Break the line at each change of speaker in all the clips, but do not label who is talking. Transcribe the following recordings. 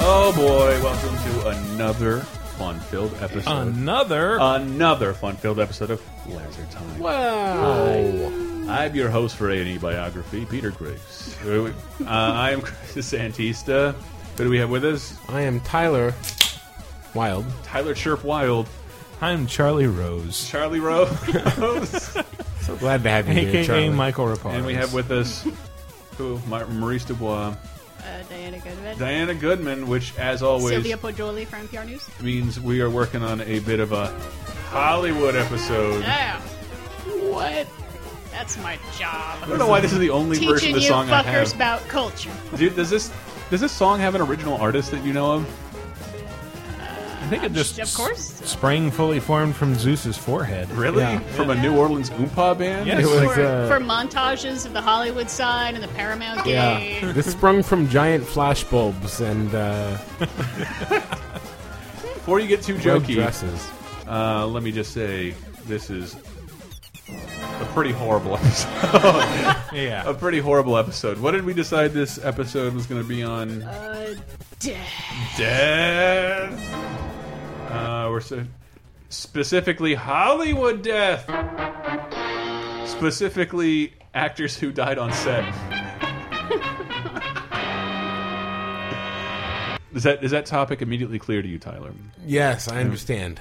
Oh boy, welcome to another fun filled episode.
Another.
Uh, another fun filled episode of Laser Time. I'm your host for A&E Biography, Peter Grace. Uh, I am Chris Santista. Who do we have with us?
I am Tyler Wild.
Tyler Chirp Wild,
I'm Charlie Rose,
Charlie Rose,
So glad to have you here,
aka
Charlie.
Michael Rapaz.
and we have with us who? Ma- Maurice Dubois,
Uh, Diana Goodman.
Diana Goodman, which, as always,
Sylvia Poggioli from NPR News.
means we are working on a bit of a Hollywood episode. I
Yeah. What? That's my job.
don't know why this is the only version
Teaching
of the
you
song I
fuckers
have.
about culture.
Dude, does this does this song have an original artist that you know of?
I think it just
Of course.
s- sprang fully formed from Zeus's forehead.
Really?
Yeah.
From a New Orleans oompa band?
Yes.
It was,
for,
uh,
for montages of the Hollywood side and the Paramount game.
Yeah, this sprung from giant flash bulbs and uh,
Before you get too
red
jokey,
dresses.
uh, let me just say this is a pretty horrible episode.
Yeah.
a pretty horrible episode. What did we decide this episode was going to be on?
Uh, duh.
death. Uh, we're so specifically Hollywood death. Specifically, actors who died on set. is that is that topic immediately clear to you, Tyler?
Yes, I understand.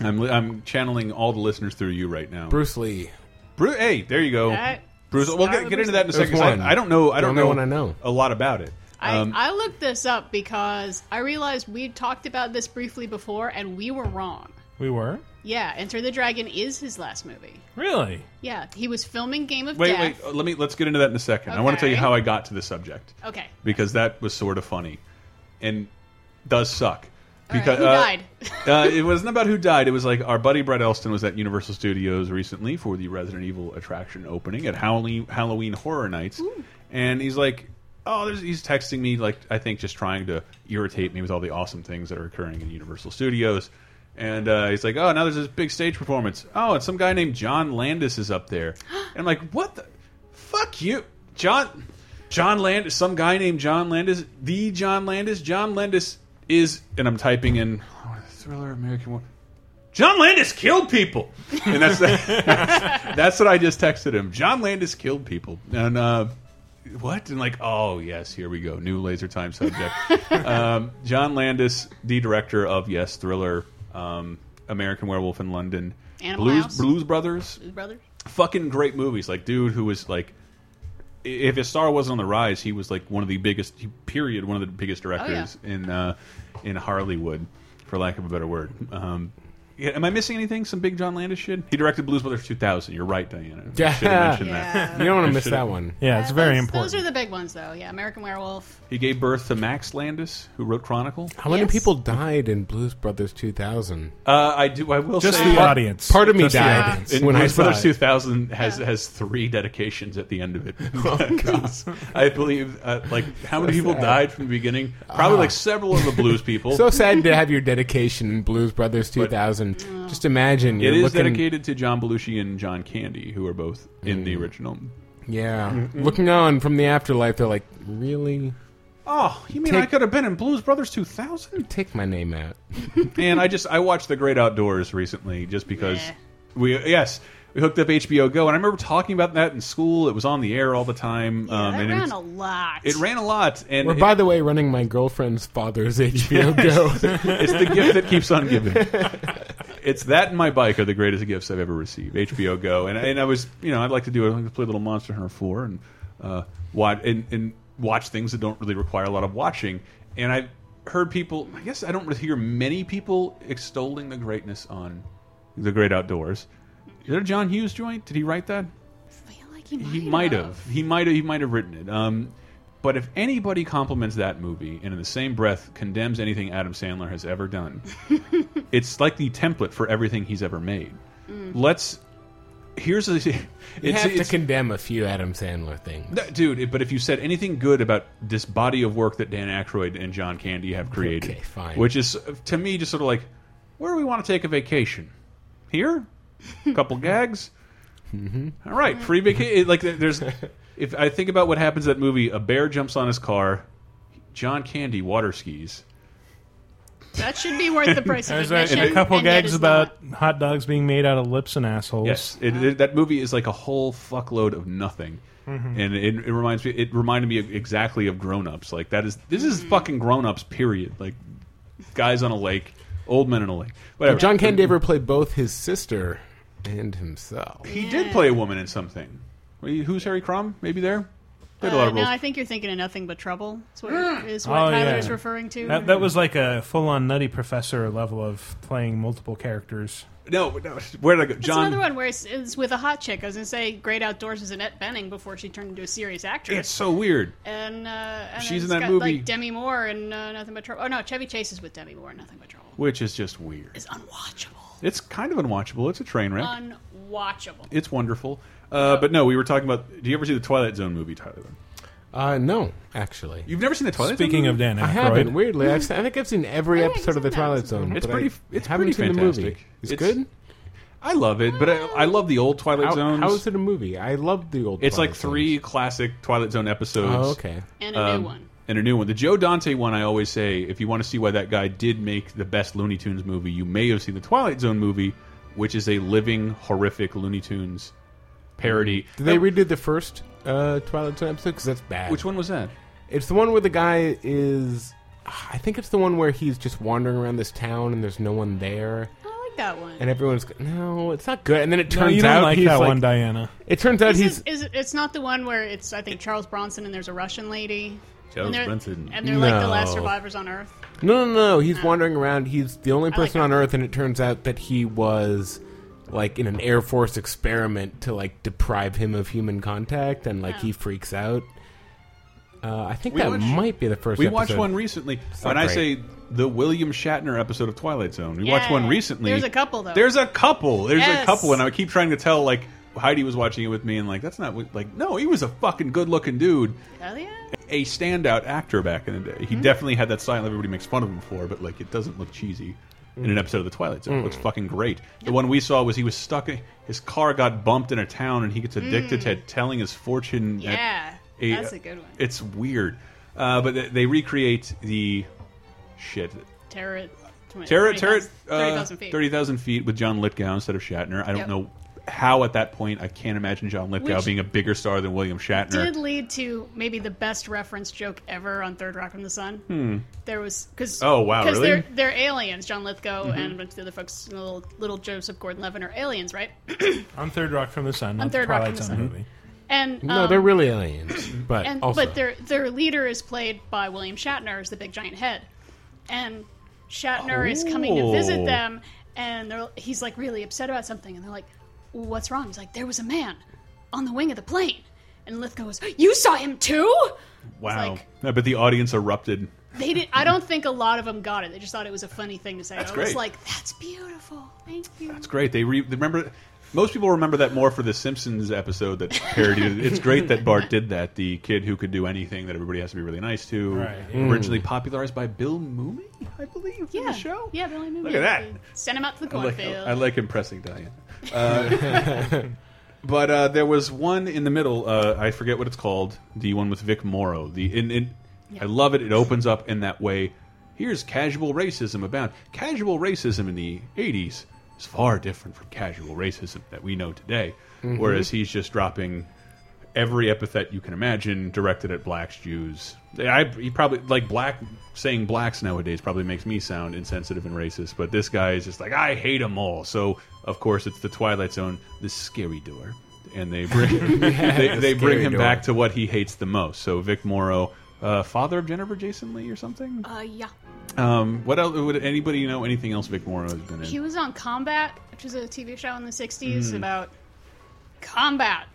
I'm li- I'm channeling all the listeners through you right now.
Bruce Lee.
Bru- hey, there you go.
That-
Bruce, we'll
Start
get,
with
get into
Bruce
that in a
There's
second. 'cause
one.
I, I don't know. I
The
don't
only
know
one I know.
a lot about it.
I,
Um,
I looked this up because I realized we'd talked about this briefly before and we were wrong.
We were?
Yeah, Enter the Dragon is his last movie.
Really?
Yeah, he was filming Game of
wait,
Death.
wait. Let me let's get into that in a second. I want to tell you
Okay.
how I got to the subject.
Okay.
because that was sort of funny, and does suck.
right,
Because
who
uh,
died?
uh, it wasn't about who died. It was like our buddy Brett Elston was at Universal Studios recently for the Resident Evil attraction opening at Halloween Halloween Horror Nights, and he's like, "Oh, there's, he's texting me like I think just trying to irritate me with all the awesome things that are occurring in Universal Studios." And uh, he's like, "Oh, now there's this big stage performance. Oh, it's some guy named John Landis is up there." And I'm like, "What the fuck you, John? John Landis, some guy named John Landis, the John Landis. John Landis is, and I'm typing in oh, thriller American War. John Landis killed people, and that's that's what I just texted him. John Landis killed people, and uh, what? And like, oh yes, here we go, new laser time subject. um, John Landis, the director of yes, thriller, um, American Werewolf in London,
Animal
Blues
House.
Blues Brothers,
Brother?
fucking great movies. Like dude who was like, i- if his star wasn't on the rise, he was like one of the biggest period, one of the biggest directors in uh, in Hollywood, for lack of a better word. Um, yeah, am I missing anything? Some big John Landis shit. He directed Blues Brothers 2000. You're right, Diana. We
Yeah.
should have mentioned that.
Yeah.
You don't want to miss that one.
Yeah, it's very
Uh, Those-
important.
Those are the big ones, though. Yeah, American Werewolf.
He gave birth to Max Landis, who wrote Chronicle.
How many
Yes.
people died in Blues Brothers 2000?
Uh, I do. I will
Just
say
the
that-
audience.
Part of me
Just the
died
audience.
And
when I
Blues
saw
Brothers
it.
2000 has
Yeah.
has three dedications at the end of it.
Oh,
Because I believe uh, like how many people died from the beginning? Probably like several of the blues people.
Ah. So sad to have your dedication in Blues Brothers 2000. Just imagine you're
it is
looking,
dedicated to John Belushi and John Candy, who are both in
Mm.
the original.
Yeah, looking on from the afterlife, they're like, really?
Oh, you mean
Take-
I could have been in Blues Brothers 2000?
Take my name out.
and I just I watched The Great Outdoors recently just because
Yeah.
we yes we hooked up HBO Go and I remember talking about that in school. It was on the air all the time. um,
that
and
ran
it,
a lot.
it ran a lot. And
We're,
it-
by the way, running my girlfriend's father's HBO Go.
it's the gift that keeps on giving. It's that and my bike are the greatest gifts I've ever received. HBO Go, and and I was you know I'd like to do I'd like to play Little Monster Hunter Four and uh, watch and, and watch things that don't really require a lot of watching. And I've heard people. I guess I don't really hear many people extolling the greatness on the Great Outdoors. Is there a John Hughes joint? Did he write that?
I feel like he might,
He might have. He might have. He might have written it. Um, but if anybody compliments that movie and in the same breath condemns anything Adam Sandler has ever done, it's like the template for everything he's ever made. Let's. Here's a. It's,
you have to
it's-
condemn a few Adam Sandler things.
no, dude. it- but if you said anything good about this body of work that Dan Aykroyd and John Candy have created,
Okay, fine.
which is uh, to me just sort of like, where do we want to take a vacation? Here, a couple gags.
Mm-hmm.
All right, free vacation. Like there's, if I think about what happens in that movie, a bear jumps on his car. John Candy water skis.
That should be worth the price of
There's
admission.
a, a couple
and it
gags
is
about
not.
hot dogs being made out of lips and assholes.
Yes, it, it- that movie is like a whole fuckload of nothing, and it, it reminds me. It reminded me of, exactly of Grown Ups. Like that is this is fucking Grown Ups. Period. Like guys on a lake, old men on a lake. Whatever.
John Candaver played both his sister and himself.
he did play a woman in something. Wait, Who's Harry Crumb? Maybe there. Played a lot
Uh,
of roles.
no, I think you're thinking of nothing but trouble. Is what, is what
Oh,
Tyler
yeah.
is referring to.
That, that was like a full-on nutty professor level of playing multiple characters.
no, no, where did I go?
That's
John.
another one where it's, it's with a hot chick. I was going to say Great Outdoors was Annette Benning before she turned into a serious actress.
It's so weird.
and, uh, and
She's
it's
in that
got,
movie.
Like Demi Moore and uh, Nothing But Trouble. Oh no, Chevy Chase is with Demi Moore. and Nothing But Trouble
Which is just weird.
It's unwatchable.
It's kind of unwatchable. It's a train
Um,
wreck.
Unwatchable.
it's wonderful. Uh, but no, we were talking about. Do you ever see the Twilight Zone movie, Tyler?
Uh, no, actually.
You've never seen the Twilight
Speaking
Zone?
of Dan Aykroyd,
I haven't. Weirdly, I've seen, I think I've seen every
I think
episode of the
it's in that
Twilight
episode.
Zone.
It's
but
pretty-
I
it's
haven't
pretty
seen the
fantastic.
movie. It's,
It's-
good.
I love it, but I, I love the old Twilight
How,
Zones.
how is it a movie? I love the old.
It's like
Twilight Zones.
three classic Twilight Zone episodes.
Oh, okay.
And a
Um,
new one.
And a new one. The Joe Dante one, I always say, if you want to see why that guy did make the best Looney Tunes movie, you may have seen the Twilight Zone movie, which is a living, horrific Looney Tunes parody.
Mm-hmm. Did they redid the first uh, Twilight Zone episode? Because that's bad.
Which one was that?
It's the one where the guy is. I think it's the one where he's just wandering around this town and there's no one there,
I like that one.
and everyone's go- no, it's not good. And then it
No,
turns
you don't
out
like
he's
that
like,
one, Diana.
It turns out
Is
he's
it- is it- it's not the one where it's I think Charles Bronson and there's a Russian lady.
Charles
and they're,
Bronson.
And they're like the last
No.
survivors on Earth.
No, no, no. He's wandering around. He's the only
like
person
that.
on Earth, and it turns out that he was like in an Air Force experiment to like deprive him of human contact, and like
Oh.
he freaks out. Uh, I think
We
that
watched-
might be the first.
We
episode.
watched one recently. When
not
I say
great.
the William Shatner episode of Twilight Zone, we watched
Yeah.
one recently.
There's a couple, though.
There's a couple. There's a
Yes.
couple, and I keep trying to tell like Heidi was watching it with me, and like that's not what, like no, he was a fucking good looking dude,
Hell yeah.
a standout actor back in the day.
Hmm.
He definitely had that style everybody makes fun of him for, but like it doesn't look cheesy. In
Hmm.
an episode of The Twilight Zone, it looks fucking great. The one we saw was he was stuck. in- His car got bumped in a town, and he gets addicted to telling his fortune. at-
Hmm. Yeah.
a-
that's a good one.
It's weird, uh, but they, they recreate the shit.
Terra. twenty-
Terra, Terra,
30,000 30,000 feet.
uh, thirty thousand feet with John Lithgow instead of Shatner. I don't
Yep.
know how at that point I can't imagine John Lithgow
Which-
being a bigger star than William Shatner.
did lead to maybe the best reference joke ever on Third Rock from the Sun. There was because
Hmm. Oh, wow, really? Mm-hmm.
they're they're aliens. John Lithgow and a bunch of the other folks, you know, little, little Joseph Gordon-Levitt are aliens, right?
On Third Rock from the Sun. On
Third Rock from the Sun.
movie.
And um,
No, they're really aliens, but
and
also
but their their leader is played by William Shatner as the big giant head, and Shatner is coming to
Oh.
visit them, and they're, he's like really upset about something, and they're like, "What's wrong?" He's like, "There was a man on the wing of the plane," and Lithgow goes, "You saw him too."
wow!
like-
I bet the audience erupted.
They did. I don't think a lot of them got it. They just thought it was a funny thing to say.
That's
I was
great.
like, "That's beautiful. Thank you."
It's great. They, re they remember. Most people remember that more for the Simpsons episode that parodied. it's great that Bart did that. The kid who could do anything that everybody has to be really nice to.
Right.
Originally popularized by Bill Mooney, I believe, in
yeah.
the show.
Yeah, Billy Mooney.
Look at that.
Send him out to the
I like,
cornfield.
I like impressing Diane. Uh, but uh, there was one in the middle. Uh, I forget what it's called. The one with Vic Morrow. The in, in I love it. It opens up in that way. Here's casual racism about casual racism in the '80s is far different from casual racism that we know today. Whereas he's just dropping every epithet you can imagine directed at blacks, Jews. I he probably like black saying blacks nowadays probably makes me sound insensitive and racist, but this guy is just like I hate them all. So of course it's the Twilight Zone, the scary door, and they bring they, they bring
scary
him
door.
back to what he hates the most. So Vic Morrow. Uh, father of Jennifer Jason Lee or something.
uh, yeah.
Um, what else would anybody know? Anything else Vic Morrow has been in?
He was on Combat, which was a TV show in the '60s
Hmm.
about combat.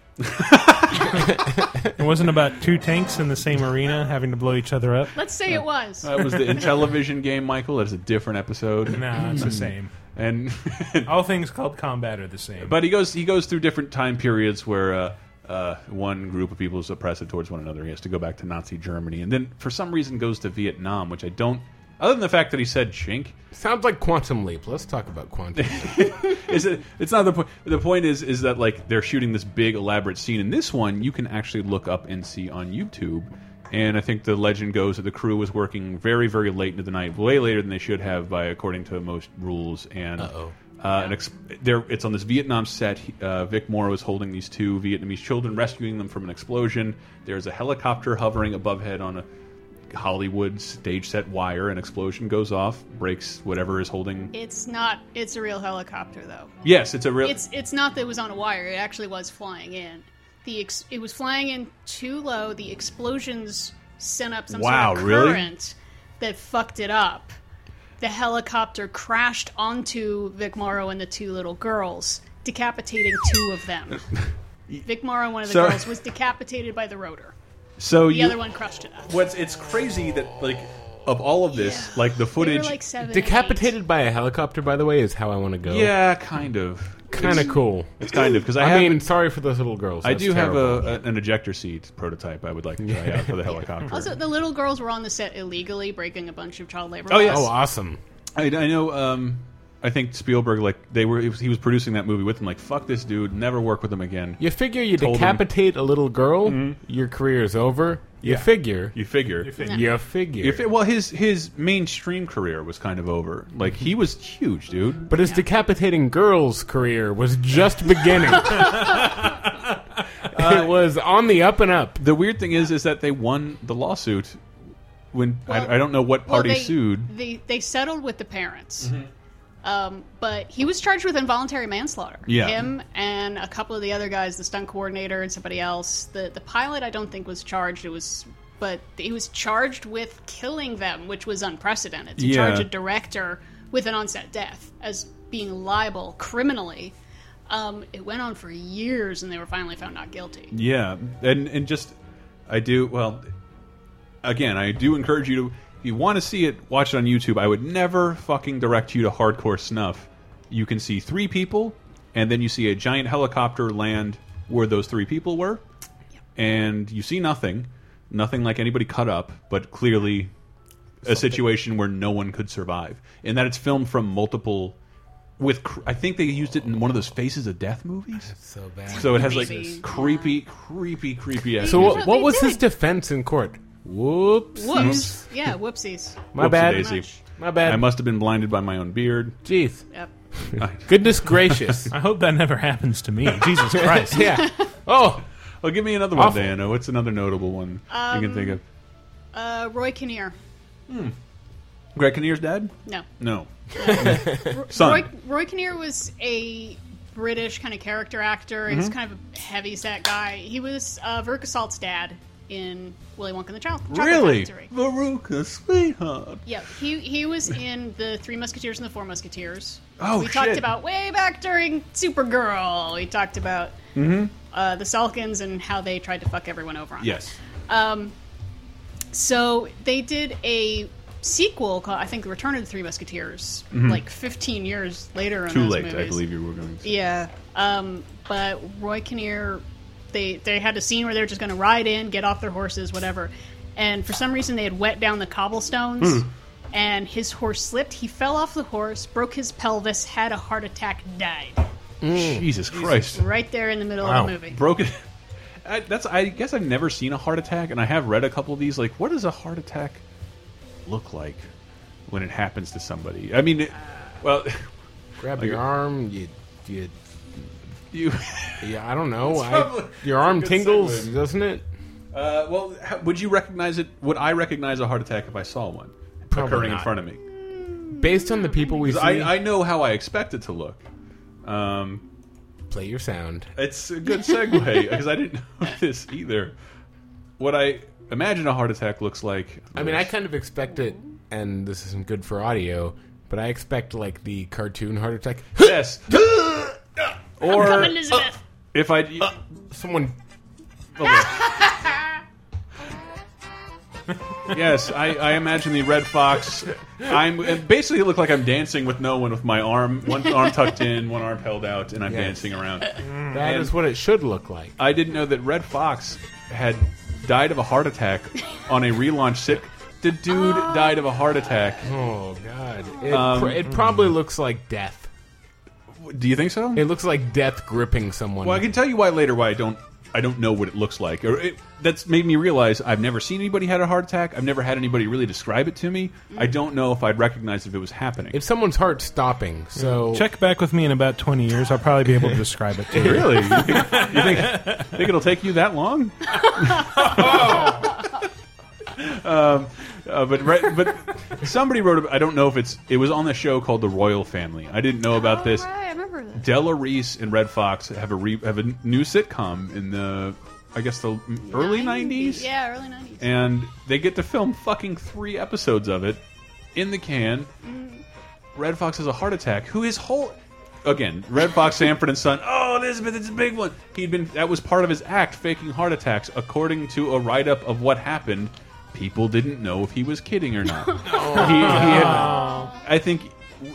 It wasn't about two tanks in the same arena having to blow each other up.
Let's say
Uh,
it was.
that was the Intellivision game, Michael. That's a different episode.
No, it's the same.
And
All things called combat are the same.
But he goes he goes through different time periods where uh, uh, one group of people is oppressive towards one another. He has to go back to Nazi Germany, and then for some reason goes to Vietnam, which I don't. Other than the fact that he said "chink,"
sounds like Quantum Leap. Let's talk about Quantum. Leap.
is it? It's not the point. The point is, is that like they're shooting this big elaborate scene. In this one, you can actually look up and see on YouTube And I think the legend goes that the crew was working very, very late into the night, way later than they should have by according to most rules. And
Uh-oh.
uh, an ex there, it's on this Vietnam set. He- Uh, Vic Morrow is holding these two Vietnamese children, rescuing them from an explosion. There's a helicopter hovering above head on a Hollywood stage set wire. An explosion goes off, breaks whatever is holding.
It's not. It's a real helicopter, though.
yes, it's a real.
It's it's not that it was on a wire. It actually was flying in. The ex- it was flying in too low. The explosions sent up some
Wow,
sort of
really?
current that fucked it up. The helicopter crashed onto Vic Morrow and the two little girls, decapitating two of them. Vic Morrow, one of the
Sorry.
girls, was decapitated by the rotor.
so
The
you,
other one crushed to death.
What's it's crazy that like of all of this, like the
They were
footage.
like seven. and eight.
Decapitated by a helicopter, by the way, is how I want to go.
yeah, kind of.
kind of cool.
It's kind of because I,
I,
have.
mean, sorry for those little girls.
I
That's
do
terrible.
have a, a- an ejector seat prototype I would like to try out for the helicopter.
Also, the little girls were on the set illegally, breaking a bunch of child labor.
Oh, yes.
laws.
Oh, awesome!
I, I know. Um, I think Spielberg like they were he was, he was producing that movie with him. Like fuck this dude, never work with him again.
You figure you
Told him-
decapitate a little girl, your career is over. You
Yeah.
figure.
You figure.
You figure.
If it, well, his his mainstream career was kind of over. Like he was huge, dude.
But his decapitating girls' career was just beginning.
Uh,
it was on the up and up.
The weird thing is, is that they won the lawsuit. When
Well-
I, I don't know what party
they,
sued.
They they settled with the parents, um, but he was charged with involuntary manslaughter.
Yeah.
him and a couple of the other guys, the stunt coordinator and somebody else. The the pilot, I don't think was charged. It was, but he was charged with killing them, which was unprecedented. To
Yeah.
charge a director with an onset death as being liable criminally. Um, it went on for years, and they were finally found not guilty.
Yeah, and and just I do well. Again, I do encourage you to if you want to see it, watch it on YouTube. I would never fucking direct you to hardcore snuff. You can see three people, and then you see a giant helicopter land where those three people were, and you see nothing, nothing like anybody cut up, but clearly a situation where no one could survive, and that it's filmed from multiple. With cr- I think they used it in one of those Faces of Death movies.
So bad.
So it has
Creepy.
like creepy, creepy, creepy ass.
So
music.
what, what
they
was his
did.
defense in court? Whoops.
Whoops! yeah, whoopsies.
My
Whoopsie
bad.
daisy.
My bad.
I must have been blinded by my own beard.
Jeez.
Yep.
Goodness gracious.
I hope that never happens to me. Jesus Christ.
yeah. Oh,
Oh, give me another one,
Awful. Um,
Diana. What's another notable one you can think of?
Uh, Roy Kinnear.
Greg Kinnear's dad?
No.
No.
Roy,
Son.
Roy Kinnear was a British kind of character actor.
Mm-hmm.
He's kind of a heavy set guy. He was uh, Veruca Salt's dad in Willy Wonka and the Chow- Chocolate
Really?
Factory.
Veruca, sweetheart.
Yeah, he he was in the Three Musketeers and the Four Musketeers.
Oh,
we talked
shit.
about way back during Supergirl. We talked about uh, the Salkins and how they tried to fuck everyone over on it.
Mm-hmm. Yes.
So they did a sequel called I think The Return of the Three Musketeers, like 15 years later. In
Mm-hmm. Too
those
late, I
movies.
believe you were going to.
Yeah. Um, but Roy Kinnear, they they had a scene where they were just going to ride in, get off their horses, whatever. And for some reason, they had wet down the cobblestones,
Hmm.
and his horse slipped. He fell off the horse, broke his pelvis, had a heart attack, died Mm.
Jesus Christ.
right there in the middle
Wow.
of the movie.
Broken. I, that's. I guess I've never seen a heart attack, and I have read a couple of these. Like, what does a heart attack look like when it happens to somebody? I mean, it, well,
grab your arm. You, you,
you.
yeah, I don't know. I-
probably-
your arm
that's a good
tingles,
segue.
doesn't it?
Uh, well, how, would you recognize it? Would I recognize a heart attack if I saw one
Probably
occurring in
not.
front of me?
Based on the people we see,
I, I know how I expect it to look. Um,
play your sound.
it's a good segue because I didn't know this either. What I imagine a heart attack looks like.
I mean, I kind of expect it, and this isn't good for audio, but I expect like the cartoon heart attack.
yes.
Come,
or
Elizabeth.
if I
Someone.
yes, I, I imagine the red fox. I'm it basically look like I'm dancing with no one with my arm one arm tucked in, one arm held out, and I'm
Yes.
dancing around.
That is what it should look like.
I didn't know that Red Fox had died of a heart attack on a relaunch sit. The dude died of a heart attack.
Oh God! It, pr- it probably looks like death.
Do you think so?
It looks like death gripping someone.
Well, I can tell you why later why I don't I don't know what it looks like. Or it, that's made me realize I've never seen anybody had a heart attack. I've never had anybody really describe it to me. I don't know if I'd recognize if it was happening.
If someone's heart's stopping, so
Check back with me in about 20 years. I'll probably be able to describe it to you.
really, you think, you think, think it'll take you that long? um, uh, but right, but somebody wrote. ab- I don't know if it's. It was on the show called The Royal Family. I didn't know
Oh,
about this.
Oh, I remember this.
Della Reese and Red Fox have a re, have a new sitcom in the, I guess the early nineties,
Yeah, early nineties.
and they get to film fucking three episodes of it in the can. Red Fox has a heart attack. Who his whole again Red Fox Sanford and Son. Oh, Elizabeth, it's a big one. He'd been that was part of his act, faking heart attacks, according to a write up of what happened. People didn't know if he was kidding or not. he, he had, I think,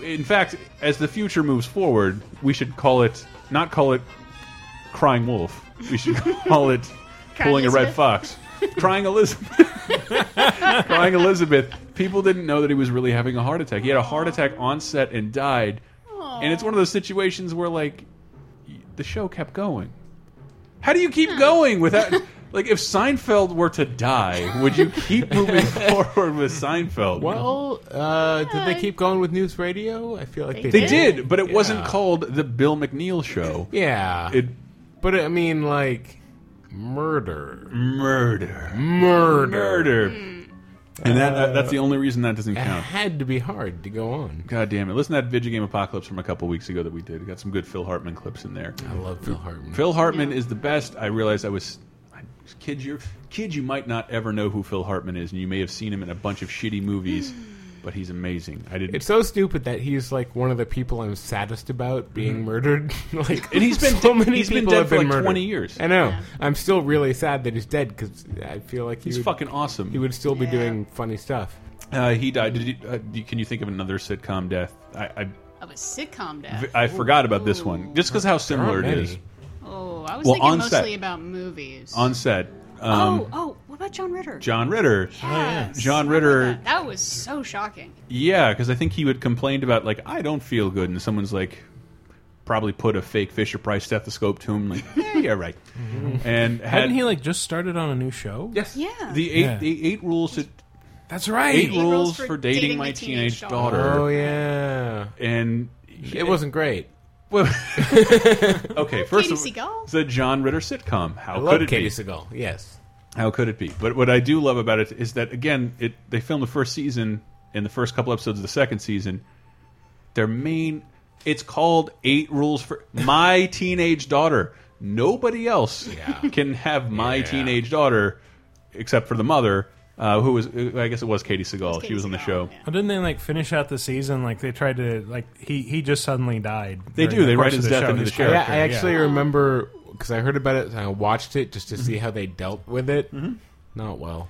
in fact, as the future moves forward, we should call it not call it crying wolf. We should call it
Crying
pulling a red
Elizabeth?
fox. Crying Elizabeth. Crying Elizabeth. People didn't know that he was really having a heart attack. He had a heart attack on set and died. And it's one of those situations where like y- the show kept going. How do you keep going without like if Seinfeld were to die, would you keep moving forward with Seinfeld?
well, uh, did they
I-
keep going with news radio? I feel like they,
They
They did, but it wasn't
Yeah.
called the Bill McNeil show.
Yeah,
It
but I mean, like murder,
murder.
murder.
Murder.
Hmm.
And that, that's the only reason that doesn't
It
count.
had to be hard to go on.
God damn it. Listen to that video game apocalypse from a couple weeks ago that we did. We got some good Phil Hartman clips in there.
I love Phil Hartman.
Phil Hartman is the best. I realized I was I kid you kid you might not ever know who Phil Hartman is and you may have seen him in a bunch of shitty movies,
Hmm.
but he's amazing. I didn't
It's so stupid that he's like one of the people I'm saddest about being murdered. like,
Mm-hmm. And he's been
so
de-
many
he's been
people
dead
have
for,
been
like,
murdered.
20 years.
I know. I'm still really sad that he's dead because I feel like he
He's
would,
fucking awesome.
He would still be
Yeah.
doing funny stuff.
uh, he died. Did you, uh, do you- can you think of another sitcom death? I
Of a sitcom
I,
death.
I forgot about this one just because how similar it
aren't
is
many.
Oh, I was
Well, on
thinking
set.
mostly about movies.
on set. Um,
oh, oh, what about John Ritter?
John Ritter.
Yes.
John Ritter.
That- That was so shocking.
Yeah, because I think he would complain about like I don't feel good, and someone's like probably put a fake Fisher Price stethoscope to him, like yeah, yeah, right.
Mm-hmm.
And had
Hadn't he like just started on a new show?
yes,
Yeah.
the eight
Yeah.
the eight rules to
that's right.
eight,
rules
rules
for
for dating,
dating
my
the
teenage,
teenage
daughter,
Oh yeah,
and
it wasn't great.
Well, okay. First
Katie
of all,
Seagal?
it's a John Ritter sitcom. How
I
could
love
it
Katie
be?
Seagal. Yes,
How could it be? But what I do love about it is that again, it they filmed the first season and the first couple episodes of the second season. Their main, it's called Eight Rules for My Teenage Daughter. Nobody else
Yeah.
can have My
Yeah.
Teenage Daughter, except for the mother, uh, who was I guess it was Katie Seagal. she
Katie
was on the
Seagal,
show.
yeah.
Well, didn't they like finish out the season? Like they tried to like he he just suddenly died.
They
during
do. They
course
write
of
his death
show,
into the show.
yeah.
character,
I actually remember because I heard about it and I watched it just to see
Mm-hmm.
how they dealt with it. Not well.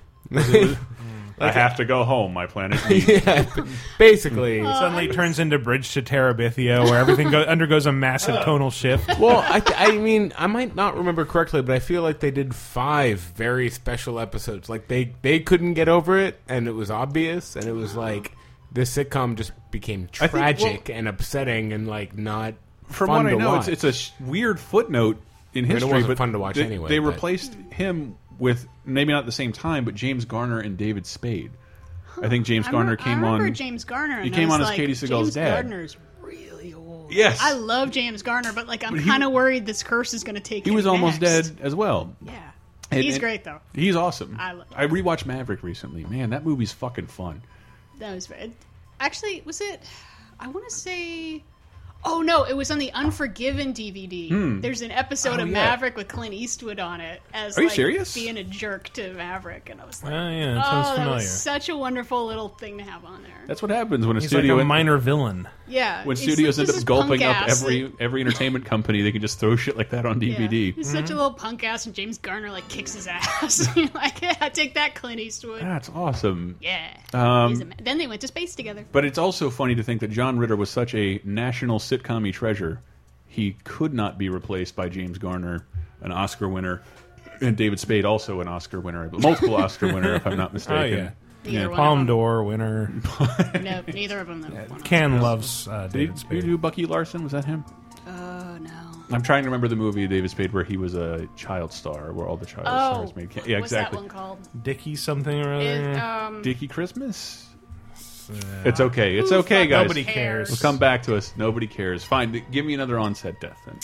I have to go home. My planet. needs me.
Basically,
suddenly turns into Bridge to Terabithia, where everything go, undergoes a massive tonal shift. Oh,
well, I, th- I mean, I might not remember correctly, but I feel like they did five very special episodes. Like they they couldn't get over it, and it was obvious, and it was like this sitcom just became
I think- well-
tragic and upsetting, and like not
from
fun
what
to
I know,
watch.
it's, it's a sh- weird footnote in
it
history.
wasn't
but
fun to watch
they,
anyway,
They
but-
replaced him with maybe not at the same time, but James Garner and David Spade. I think James
I
Garner
remember- I
came
remember
on.
James Garner.
He
and I
came
was
on as
like,
Katie Seagal's
James
dad.
Garner's really old.
Yes.
I love James Garner, but like I'm
he-
kind of worried this curse is going to take.
he
him
was almost
next.
dead as well.
Yeah,
And-
he's
and-
great though.
He's awesome.
I love-
I rewatched Maverick recently. Man, that movie's fucking fun.
That was very. Actually, was it? I want to say. Oh no! It was on the Unforgiven DVD. There's an episode
Oh,
of
yeah.
Maverick with Clint Eastwood on it as
Are you
like,
serious?
being a jerk to Maverick, and I was
Oh
like,
yeah, it sounds
"Oh, that
familiar.
was such a wonderful little thing to have on there."
That's what happens when a
He's like
studio
a minor villain.
yeah,
when
he's
studios
like,
end
this
up
is
gulping up
punk-ass
every every entertainment company. They can just throw shit like that on
Yeah.
DVD.
He's such a little punk ass, and James Garner like kicks his ass. You're like, yeah, take that, Clint Eastwood.
That's awesome.
Yeah.
Uh, Um,
He's a ma- then they went to space together.
But it's also funny to think that John Ritter was such a national sitcom treasure, he could not be replaced by James Garner, an Oscar winner, and David Spade, also an Oscar winner, multiple Oscar winner, if I'm not mistaken.
Neither one
Palm
of them.
d'Or winner.
No, neither of them. though. One of them.
Ken loves uh,
Did he, did
David
he
Spade.
do Bucky Larson? Was that him?
Oh no.
I'm trying to remember the movie David Spade where he was a child star, where all the child
Oh,
stars made. ca- Yeah,
what's that
exactly.
one called?
Dicky something or other.
Is, um,
Dicky Christmas. It's okay. It's
Who
okay,
fucking
guys.
Nobody cares.
It'll come back to us. Nobody cares. Fine. th- Give me another onset death then.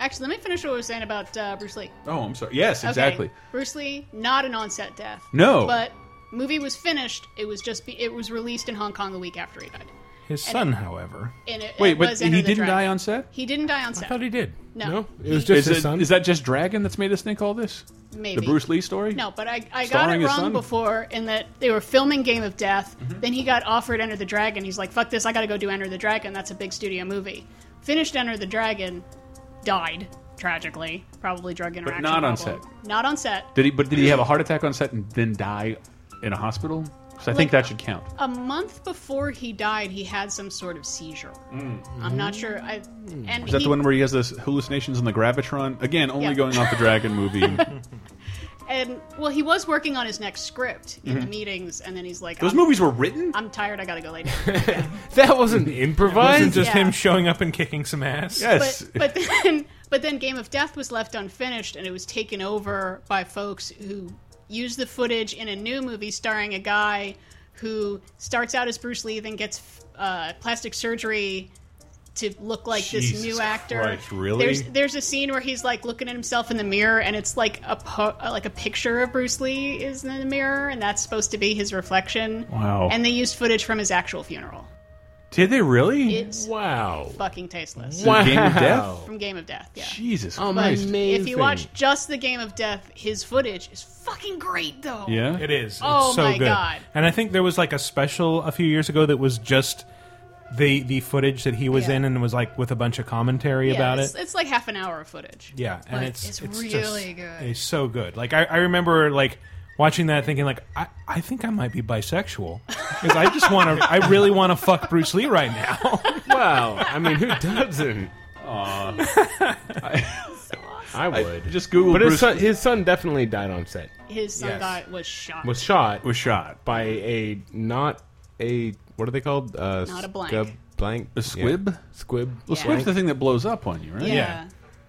actually, let me finish what I was saying about uh, Bruce Lee.
Oh, I'm sorry. Yes, exactly.
Okay. Bruce Lee, not an onset death.
No.
But movie was finished. It was just be, it was released in Hong Kong a week after he died.
His son, however,
And it,
Wait,
it
but
was
he
Enter the
didn't
Dragon.
die on set.
He didn't die on
I
set.
thought he did.
No.
it was just
Is,
his
it,
son.
is that just Dragon that's made us think all this?
Maybe
The Bruce Lee story?
No, but I, I got
Starring
it
his
wrong
son? Mm-hmm.
before in that they were filming Game of Death. Then he got offered Enter the Dragon. He's like, fuck this, I gotta go do Enter the Dragon. That's a big studio movie. Finished Enter the Dragon, died, tragically. Probably drug interaction.
not on
problem.
set.
Not on set.
Did he? But did he have a heart attack on set and then die in a hospital? Because I think
Like-
that should count.
A month before he died, he had some sort of seizure. I'm not sure. I,
Mm.
and
Is Mm. that
he,
the one where he has those hallucinations on the gravitron? Again, only
Yeah.
going off the Dragon movie.
And well, he was working on his next script in the meetings, and then he's like,
Mm-hmm. Those
I'm,
movies were written.
I'm tired. I gotta go lay down.
that wasn't improvised.
wasn't just
Yeah.
him showing up and kicking some ass.
Yes.
but but then but then Game of Death was left unfinished and it was taken over by folks who used the footage in a new movie starring a guy who starts out as Bruce Lee then gets uh, plastic surgery to look like this
Jesus
new actor.
Christ, really?
There's there's a scene where he's like looking at himself in the mirror and it's like a po- uh, like a picture of Bruce Lee is in the mirror and that's supposed to be his reflection.
Wow.
And they used footage from his actual funeral.
Did they really?
It's
wow.
fucking tasteless.
Wow. Game of Death?
From Game of Death, yeah.
Jesus
Um,
But
Christ.
Amazing.
if you watch just the Game of Death, his footage is fucking great, though.
yeah.
It is. It's
Oh
so
my
good.
God.
And I think there was like a special a few years ago that was just the the footage that he was
Yeah.
in and was like with a bunch of commentary
Yeah,
about
it's,
it.
It's like half an hour of footage.
Yeah, and
Like,
it's
it's
just-
really good.
It's so good. Like I, I remember like watching that thinking like I, I think I might be bisexual because I just want to I really want to fuck Bruce Lee right now.
wow. I mean, who doesn't? I would.
Just Google
but
Bruce
his son, his son definitely died on set.
His son
Yes.
got was shot.
Was shot
was shot.
by a not a what are they called? Uh,
Not a blank.
scub- blank.
A squib?
Yeah. Squib.
Well,
Yeah.
Squib's uh, the thing that blows up on you, right?
yeah.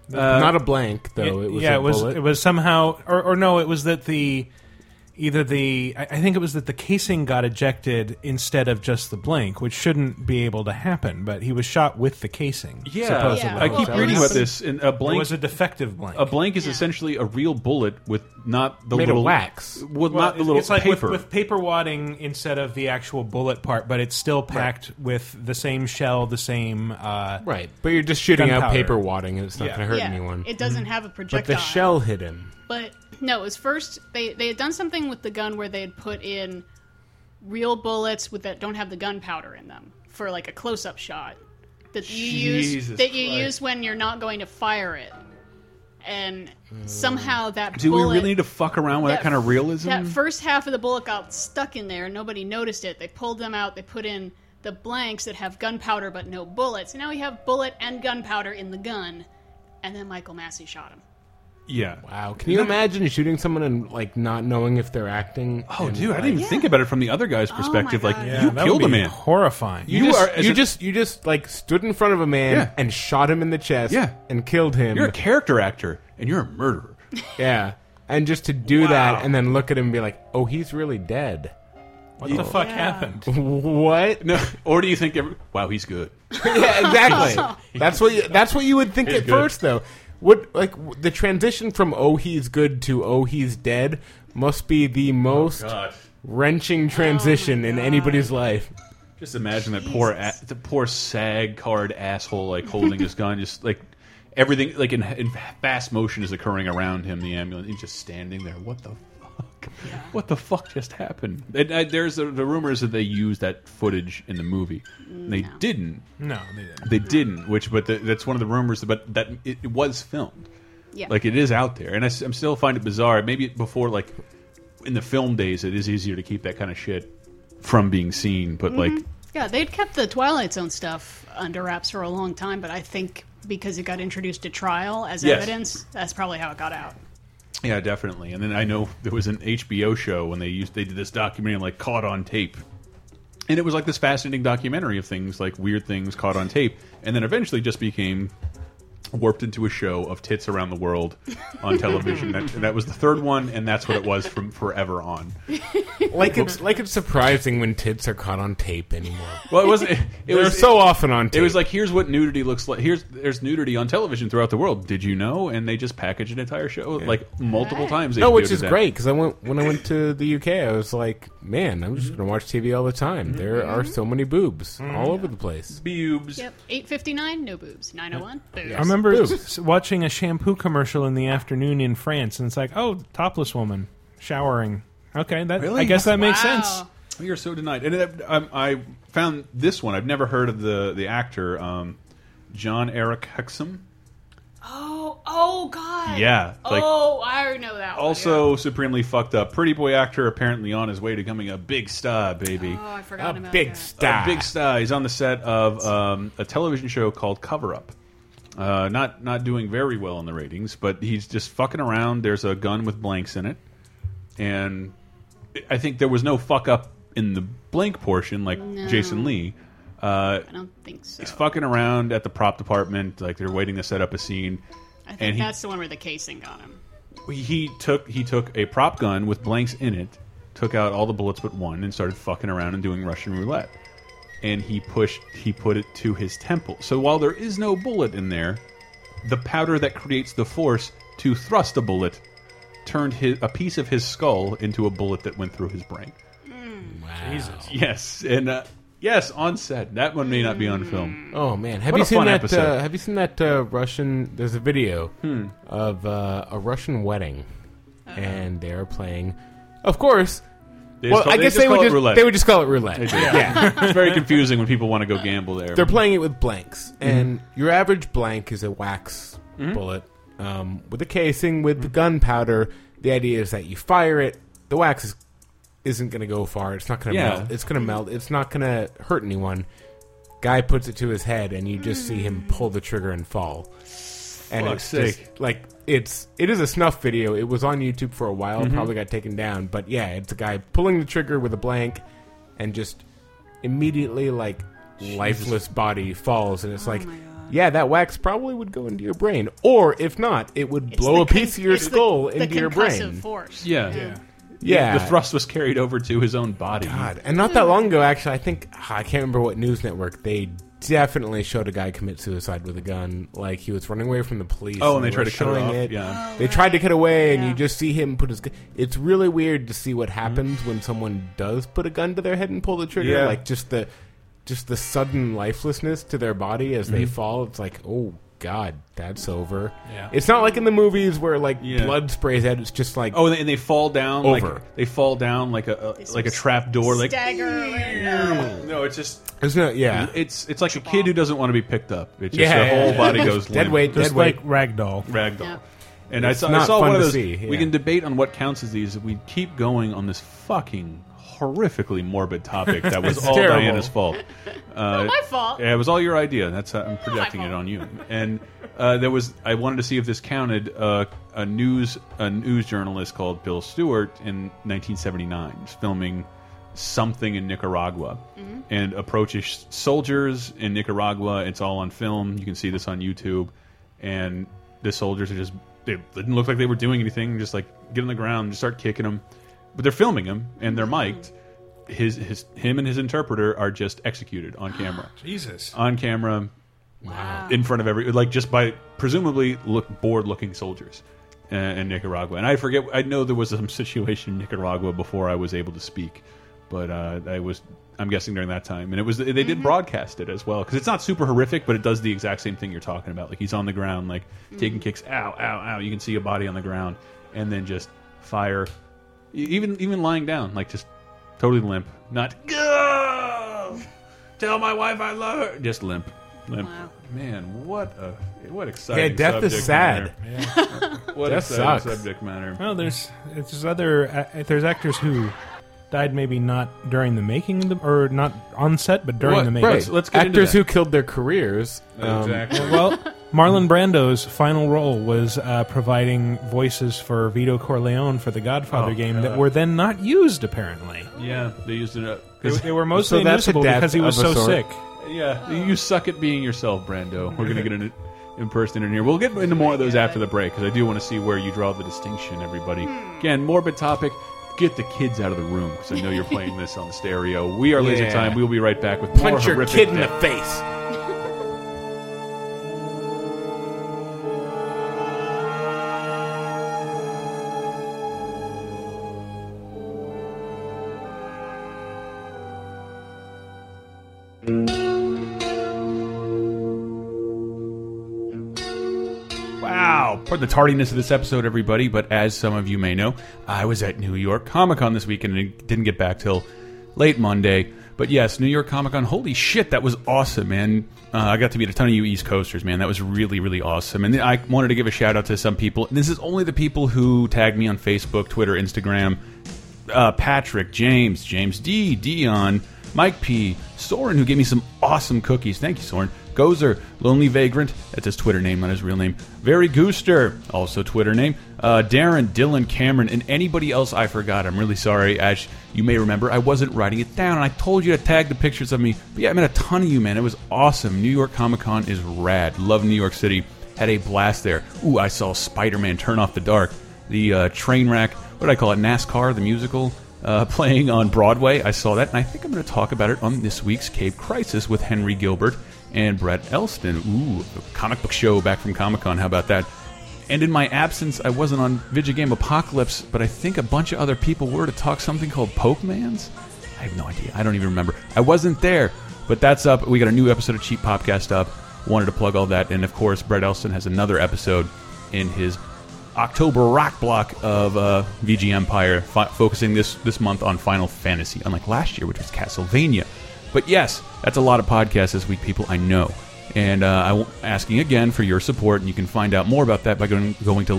yeah.
not a blank though. It, was
yeah,
a
it was
bullet.
it was somehow or, or no, it was that the either the I, I think it was that the casing got ejected instead of just the blank, which shouldn't be able to happen. But he was shot with the casing.
Yeah.
supposedly.
I keep
Well,
reading
it
about
was-
this. In a
It
blank,
was a defective blank.
a blank is
Yeah.
essentially a real bullet with not the
Made of
little
wax.
With
Well,
not the little
it's like
paper.
With, with paper wadding instead of the actual bullet part, but it's still packed with the same shell, the same. Uh,
right, but you're just shooting out
Gunpowder.
paper wadding, and it's not
Yeah.
going to hurt
Yeah,
anyone.
It doesn't have a
but
projectile.
the shell hit him.
But no, it was first they they had done something with the gun where they had put in real bullets with that don't have the gunpowder in them for like a close up shot that you
Jesus
use that you
Christ.
use when you're not going to fire it. And somehow that
Do we
bullet,
really need to fuck around with that, kind of realism?
That first half of the bullet got stuck in there. Nobody noticed it. They pulled them out. They put in the blanks that have gunpowder but no bullets. And now we have bullet and gunpowder in the gun. And then Michael Massey shot him.
yeah.
Wow, can you imagine shooting someone and like not knowing if they're acting?
Oh,
and,
dude, I
like,
didn't even think about it from the other
Oh
guy's perspective. like,
God.
yeah,
you
that would
killed a
be
man.
Horrifying.
You,
You
just,
are- as
you
a-
just you just like stood in front of a man
Yeah.
and shot him in the chest
Yeah.
and killed him.
You're a character actor, and you're a murderer.
yeah. And just to do that
Wow.
and then look at him and be like, "Oh, he's really dead."
what the fuck happened?
what?
No, or do you think? Every, wow, he's good.
yeah, exactly. that's what you, that's what you would think at
good.
first, though. What like w- the transition from "Oh, he's good" to "Oh, he's dead" must be
Oh,
the most wrenching transition in anybody's life.
Just imagine that poor, a, the poor SAG card asshole, like holding his gun, just like everything, like in, in fast motion is occurring around him. The ambulance, he's just standing there. What the fuck? What the fuck just happened? And, uh, there's the, the rumors that they used that footage in the movie. They didn't.
No, they didn't.
They didn't. Which, but the, that's one of the rumors. But that it, it was filmed.
Yeah.
Like it is out there, and I, am still find it bizarre. Maybe before, like in the film days, it is easier to keep that kind of shit from being seen. But like.
Yeah, they'd kept the Twilight Zone stuff under wraps for a long time, but I think because it got introduced to trial as
Yes.
evidence, that's probably how it got out.
Yeah, definitely. And then I know there was an HBO show when they used they did this documentary like caught on tape. And it was like this fascinating documentary of things like weird things caught on tape and then eventually just became warped into a show of tits around the world on television. that, that was the third one, and that's what it was from forever on.
Like it's like it's surprising when tits are caught on tape anymore.
Well, it wasn't. It, it
They're
was
so often on
It
tape.
was like here's what nudity looks like. Here's there's nudity on television throughout the world. Did you know? And they just packaged an entire show like multiple
Right.
times. they
no, which
did
is
that.
great because I went when I went to the UK, I was like, man, I'm
Mm-hmm.
just gonna watch TV all the time. There are so many boobs all over the place.
Boobs.
Yep. 859, no boobs. 901, boobs.
I remember
Boobs.
s- watching a shampoo commercial in the afternoon in France, and it's like, oh, topless woman showering. Okay, that
Really?
I guess that makes
Wow.
sense.
We are so denied. And it, um, I found this one. I've never heard of the the actor um, John Eric Hexum.
Oh, oh, God.
Yeah, like-
oh, I already know that one,
Also supremely fucked up. Pretty boy actor apparently on his way to becoming a big star, baby.
yeah. Oh, I forgot
A
about
big
that.
star.
A big star. He's on the set of um, a television show called Cover Up. Uh, not not doing very well in the ratings, but he's just fucking around. There's a gun with blanks in it, and I think there was no fuck up in the blank portion, like Jason Lee. Uh,
I don't think so.
he's fucking around at the prop department, like they're waiting to set up a scene.
I think
and he-
that's the one where the casing got him.
He took he took a prop gun with blanks in it, took out all the bullets but one, and started fucking around and doing Russian roulette. And he pushed he put it to his temple. So while there is no bullet in there, the powder that creates the force to thrust a bullet turned his, a piece of his skull into a bullet that went through his brain.
Wow.
Yes, and uh, yes, on set. That one may not be on film.
Oh man, have
What
you
a
seen
fun
that?
episode. Hmm.
Uh, have you seen that uh, Russian? There's a video of uh, a Russian wedding, and they're playing. Of course,
They
well,
just call-
I guess
just
they, would
call it
just
roulette.
they would just call it roulette. Yeah.
it's very confusing when people want to go gamble there.
they're playing it with blanks,
Mm-hmm.
and your average blank is a wax bullet um, with a casing with
Mm-hmm.
the gunpowder. The idea is that you fire it, the wax is, isn't going to go far. It's not going to
Yeah.
melt. It's going to melt. It's not going to hurt anyone. Guy puts it to his head, and you just see him pull the trigger and fall. And
Fuck's
it's
sake.
just, like it's it is a snuff video. It was on YouTube for a while.
Mm-hmm.
Probably got taken down, but yeah, it's a guy pulling the trigger with a blank, and just immediately like lifeless body falls and it's
Oh
like yeah that wax probably would go into your brain or if not it would
It's
blow
the
a piece
con-
of your
it's the-
skull
the
into your
concussive
brain
force.
yeah.
yeah
The thrust was carried over to his own body.
God. and not that long ago actually i think ah, i can't remember what news network they definitely showed a guy commit suicide with a gun like he was running away from the police
Oh, and they
were
tried to cut it
showing
off, yeah.
they tried to cut away and
Yeah.
you just see him put his gun it's really weird to see
Mm-hmm.
what happens when someone does put a gun to their head and pull the trigger
Yeah.
like just the just the sudden lifelessness to their body as
Mm-hmm.
they fall it's like oh god that's over
Yeah.
it's not like in the movies where like
Yeah.
blood sprays out it's just like
Oh, and they, and they fall down.
Over.
Like, they fall down like a, a like a trap door. Like
Stagger.
no, it's just
there's no yeah
it's it's like a kid who doesn't want to be picked up. It's just
Yeah,
their
yeah,
whole
yeah.
body goes
dead
limp.
weight
Just
dead weight
like ragdoll.
ragdoll.
Yeah.
And I
It's
saw I
not
saw
fun
one of
to
those.
see, yeah.
We can debate on what counts as these. if We keep going on this fucking horrifically morbid topic that was
It's
all
terrible.
Diana's fault. Uh,
my fault.
Yeah, it was all your idea. That's how I'm projecting it
fault.
on you. And uh, there was I wanted to see if this counted uh, a news a news journalist called Bill Stewart in 1979 was filming something in Nicaragua and approaches soldiers in Nicaragua. It's all on film. You can see this on YouTube. And the soldiers are just they didn't look like they were doing anything. Just like get on the ground, and just start kicking them. But they're filming him and they're mic'd. His his him and his interpreter are just executed on camera
Jesus.
on camera in front of every like just by presumably look bored looking soldiers uh, in Nicaragua and I forget I know there was some situation in Nicaragua before I was able to speak but uh, I was I'm guessing during that time and it was they did broadcast it as well because it's not super horrific but it does the exact same thing you're talking about like he's on the ground like taking kicks ow ow ow you can see a body on the ground and then just fire E- even even lying down like just totally limp not go tell my wife I love her just limp limp
Wow.
man what a what exciting
yeah death
subject
is sad
matter. what
Death
exciting
sucks.
subject matter
Well, there's it's just other uh, there's actors who died maybe not during the making of the, or not on set but during
What?
the making.
Right.
Let's- let's get into
Actors
that.
who killed their careers. um,
exactly
Well, Marlon Brando's final role was uh, providing voices for Vito Corleone for the
Oh,
Godfather game that were then not used apparently.
yeah they used it up
They,
'Cause-
they were mostly
So that's a
unusable
death
because he was
of a
so
sort.
sick.
yeah you suck at being yourself Brando we're gonna get into impersonator in here. We'll get into more of those after the break because I do want to see where you draw the distinction, everybody. Again, morbid topic. Get the kids out of the room because I know you're playing this on the stereo. We are Laser
Yeah.
Time. We'll be right back with more
Punch your
horrific
kid in
death.
the face.
Wow. Pardon the tardiness of this episode, everybody, but as some of you may know, I was at New York Comic Con this weekend and didn't get back till late Monday. But yes, New York Comic Con, holy shit, that was awesome, man. Uh, I got to meet a ton of you East Coasters, man. That was really, really awesome. And I wanted to give a shout out to some people. And this is only the people who tagged me on Facebook, Twitter, Instagram, uh, Patrick, James, James D, Dion, Mike P, Soren, who gave me some awesome cookies. Thank you, Soren. Gozer, Lonely Vagrant, that's his Twitter name, not his real name. Very Gooster, also Twitter name. Uh, Darren, Dylan, Cameron, and anybody else I forgot. I'm really sorry. Ash, you may remember, I wasn't writing it down, and I told you to tag the pictures of me. But yeah, I met a ton of you, man. It was awesome. New York Comic Con is rad. Love New York City. Had a blast there. Ooh, I saw Spider Man Turn Off the Dark the uh, train wreck. What did I call it? NASCAR, the musical, uh, playing on Broadway. I saw that, and I think I'm going to talk about it on this week's Cape Crisis with Henry Gilbert and Brett Elston. Ooh, a comic book show back from Comic Con. How about that? And in my absence, I wasn't on Video Game Apocalypse, but I think a bunch of other people were to talk something called Pokemans. I have no idea. I don't even remember. I wasn't there, but that's up. We got a new episode of Cheap Podcast up. Wanted to plug all that, and of course, Brett Elston has another episode in his October rock block of uh, VG Empire, fo focusing this this month on Final Fantasy, unlike last year, which was Castlevania. But yes, that's a lot of podcasts this week, people. I know, and uh, I'm asking again for your support, and you can find out more about that by going going to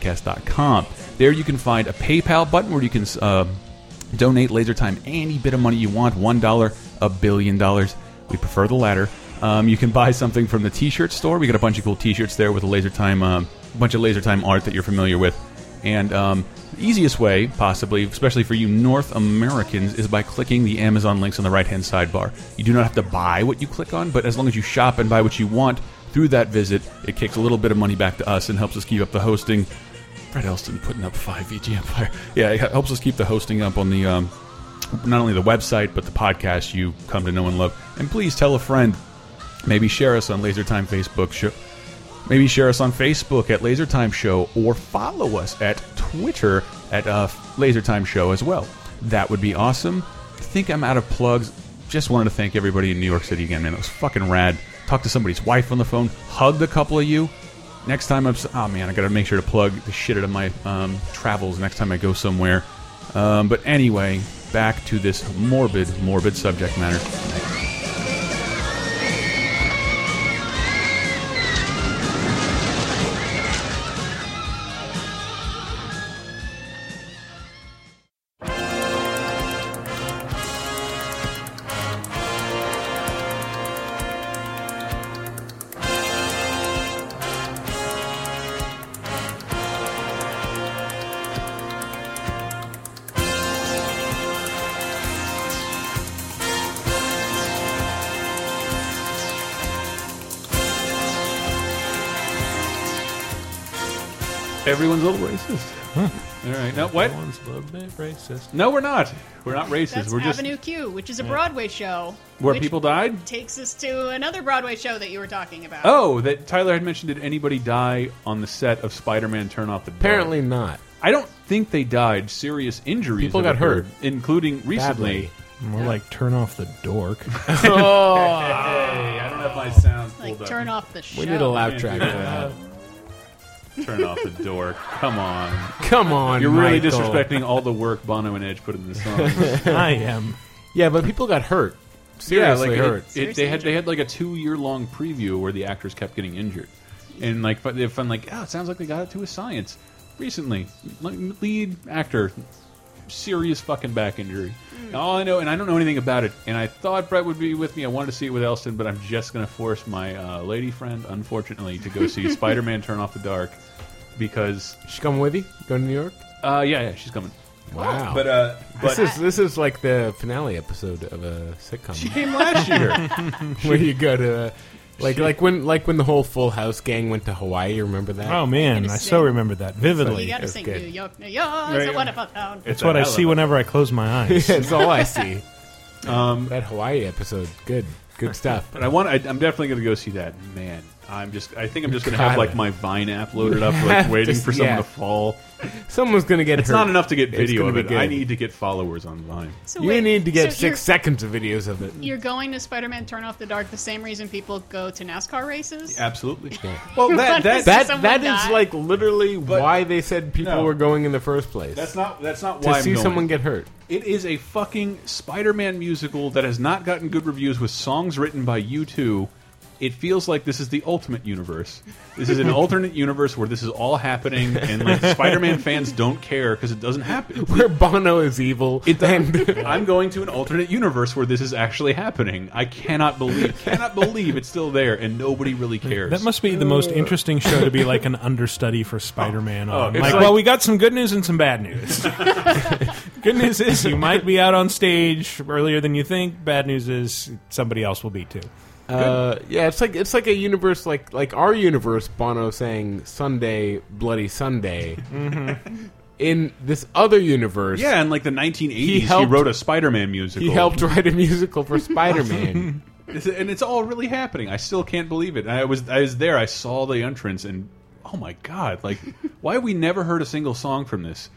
LaserTimePodcast.com. There, you can find a PayPal button where you can uh, donate laser time any bit of money you want one dollar a billion dollars we prefer the latter um, you can buy something from the t-shirt store we got a bunch of cool t-shirts there with a laser time um, a bunch of laser time art that you're familiar with and um, the easiest way possibly especially for you north americans is by clicking the amazon links on the right hand sidebar you do not have to buy what you click on but as long as you shop and buy what you want through that visit it kicks a little bit of money back to us and helps us keep up the hosting Fred Elston putting up five VG Empire. Yeah, it helps us keep the hosting up on the um, not only the website but the podcast you come to know and love. And please tell a friend. Maybe share us on LaserTime Facebook show. Maybe share us on Facebook at LaserTime Show or follow us at Twitter at uh, LaserTime Show as well. That would be awesome. I think I'm out of plugs. Just wanted to thank everybody in New York City again, man. It was fucking rad. Talked to somebody's wife on the phone, hugged a couple of you. Next time I'm. s- Oh, man, I gotta make sure to plug the shit out of my um, travels next time I go somewhere. Um, but anyway, back to this morbid, morbid subject matter. Everyone's a little racist. All right, now what?
One's a little bit racist.
No, we're not. We're not racist.
That's
we're just
Avenue Q, which is a Broadway show.
where
which
people died.
takes us to another Broadway show that you were talking about.
Oh, that Tyler had mentioned. Did anybody die on the set of Spider-Man: Turn Off the Dark?
Apparently not.
I don't think they died. Serious injuries.
People
have
got hurt.
occurred, including recently.
Badly.
More like turn off the dork.
Hey, I don't have my sound
like turn off the show.
We need a loud track for that.
Turn off the door. Come on,
Come on,
you're really
Michael.
disrespecting all the work Bono and Edge put in the song.
I am.
Yeah, but people got hurt.
yeah,
Seriously
like it-
hurt.
it- they had they had like a two year long preview where the actors kept getting injured, and like but they found like oh it sounds like they got it to a science recently like, lead actor serious fucking back injury. And All I know, and I don't know anything about it, and I thought Brett would be with me. I wanted to see it with Elston, but I'm just gonna force my uh, lady friend, unfortunately, to go see Spider Man Turn Off the Dark because
She coming with you? Going to New York?
uh, yeah yeah she's coming.
Wow.
But uh, but
this is this is like the finale episode of a sitcom
came last year.
where you go to uh, Like like when like when the whole Full House gang went to Hawaii. You remember that?
Oh man,
gotta
I
sing.
so remember that
You
vividly.
gotta
That's
sing
good.
New York, New York is a
Right.
wonderful town.
It's what I see whenever I close my eyes.
That's all I see. Um, that Hawaii episode, good, good stuff.
But I want. I, I'm definitely going to go see that. Man, I'm just. I think I'm just going to have
Gotta.
like my Vine app loaded up,
have
like
to
waiting
s-
for someone
yeah.
to fall.
Someone's gonna get
It's not enough to get video
gonna
of
be
it.
good.
I need to get followers on Vine.
So
You
wait,
need to get
so
6
you're-
seconds of videos of it.
You're going to Spider-Man: Turn Off the Dark the same reason people go to NASCAR races.
Absolutely. Well, that
But
that, that
it's-
That
Someone
that is
died.
like literally
But-
why they said people
No.
were going in the first place.
that's not that's not
to
why I'm
see
going.
someone get hurt.
It is a fucking Spider-Man musical that has not gotten good reviews with songs written by you two. It feels like this is the ultimate universe. This is an alternate universe where this is all happening, and like Spider-Man fans don't care because it doesn't happen.
Where Bono is evil.
It
and
doesn't. I'm going to an alternate universe where this is actually happening. I cannot believe, cannot believe it's still there, and nobody really cares.
That must be the most interesting show to be like an understudy for Spider-Man. on.
it's
like,
like-
well, we got some good news and some bad news. good news is you might be out on stage earlier than you think. Bad news is somebody else will be too.
uh, yeah, it's like it's like a universe like like our universe. Bono saying Sunday, bloody Sunday. In this other universe,
Mm-hmm. yeah, in like the 1980s, he,
He helped-
wrote a Spider-Man musical.
he helped write a musical for Spider-Man.
It's- and it's all really happening. I still can't believe it. I was I was there. I saw the entrance, and oh my god! Like, why have we never heard a single song from this?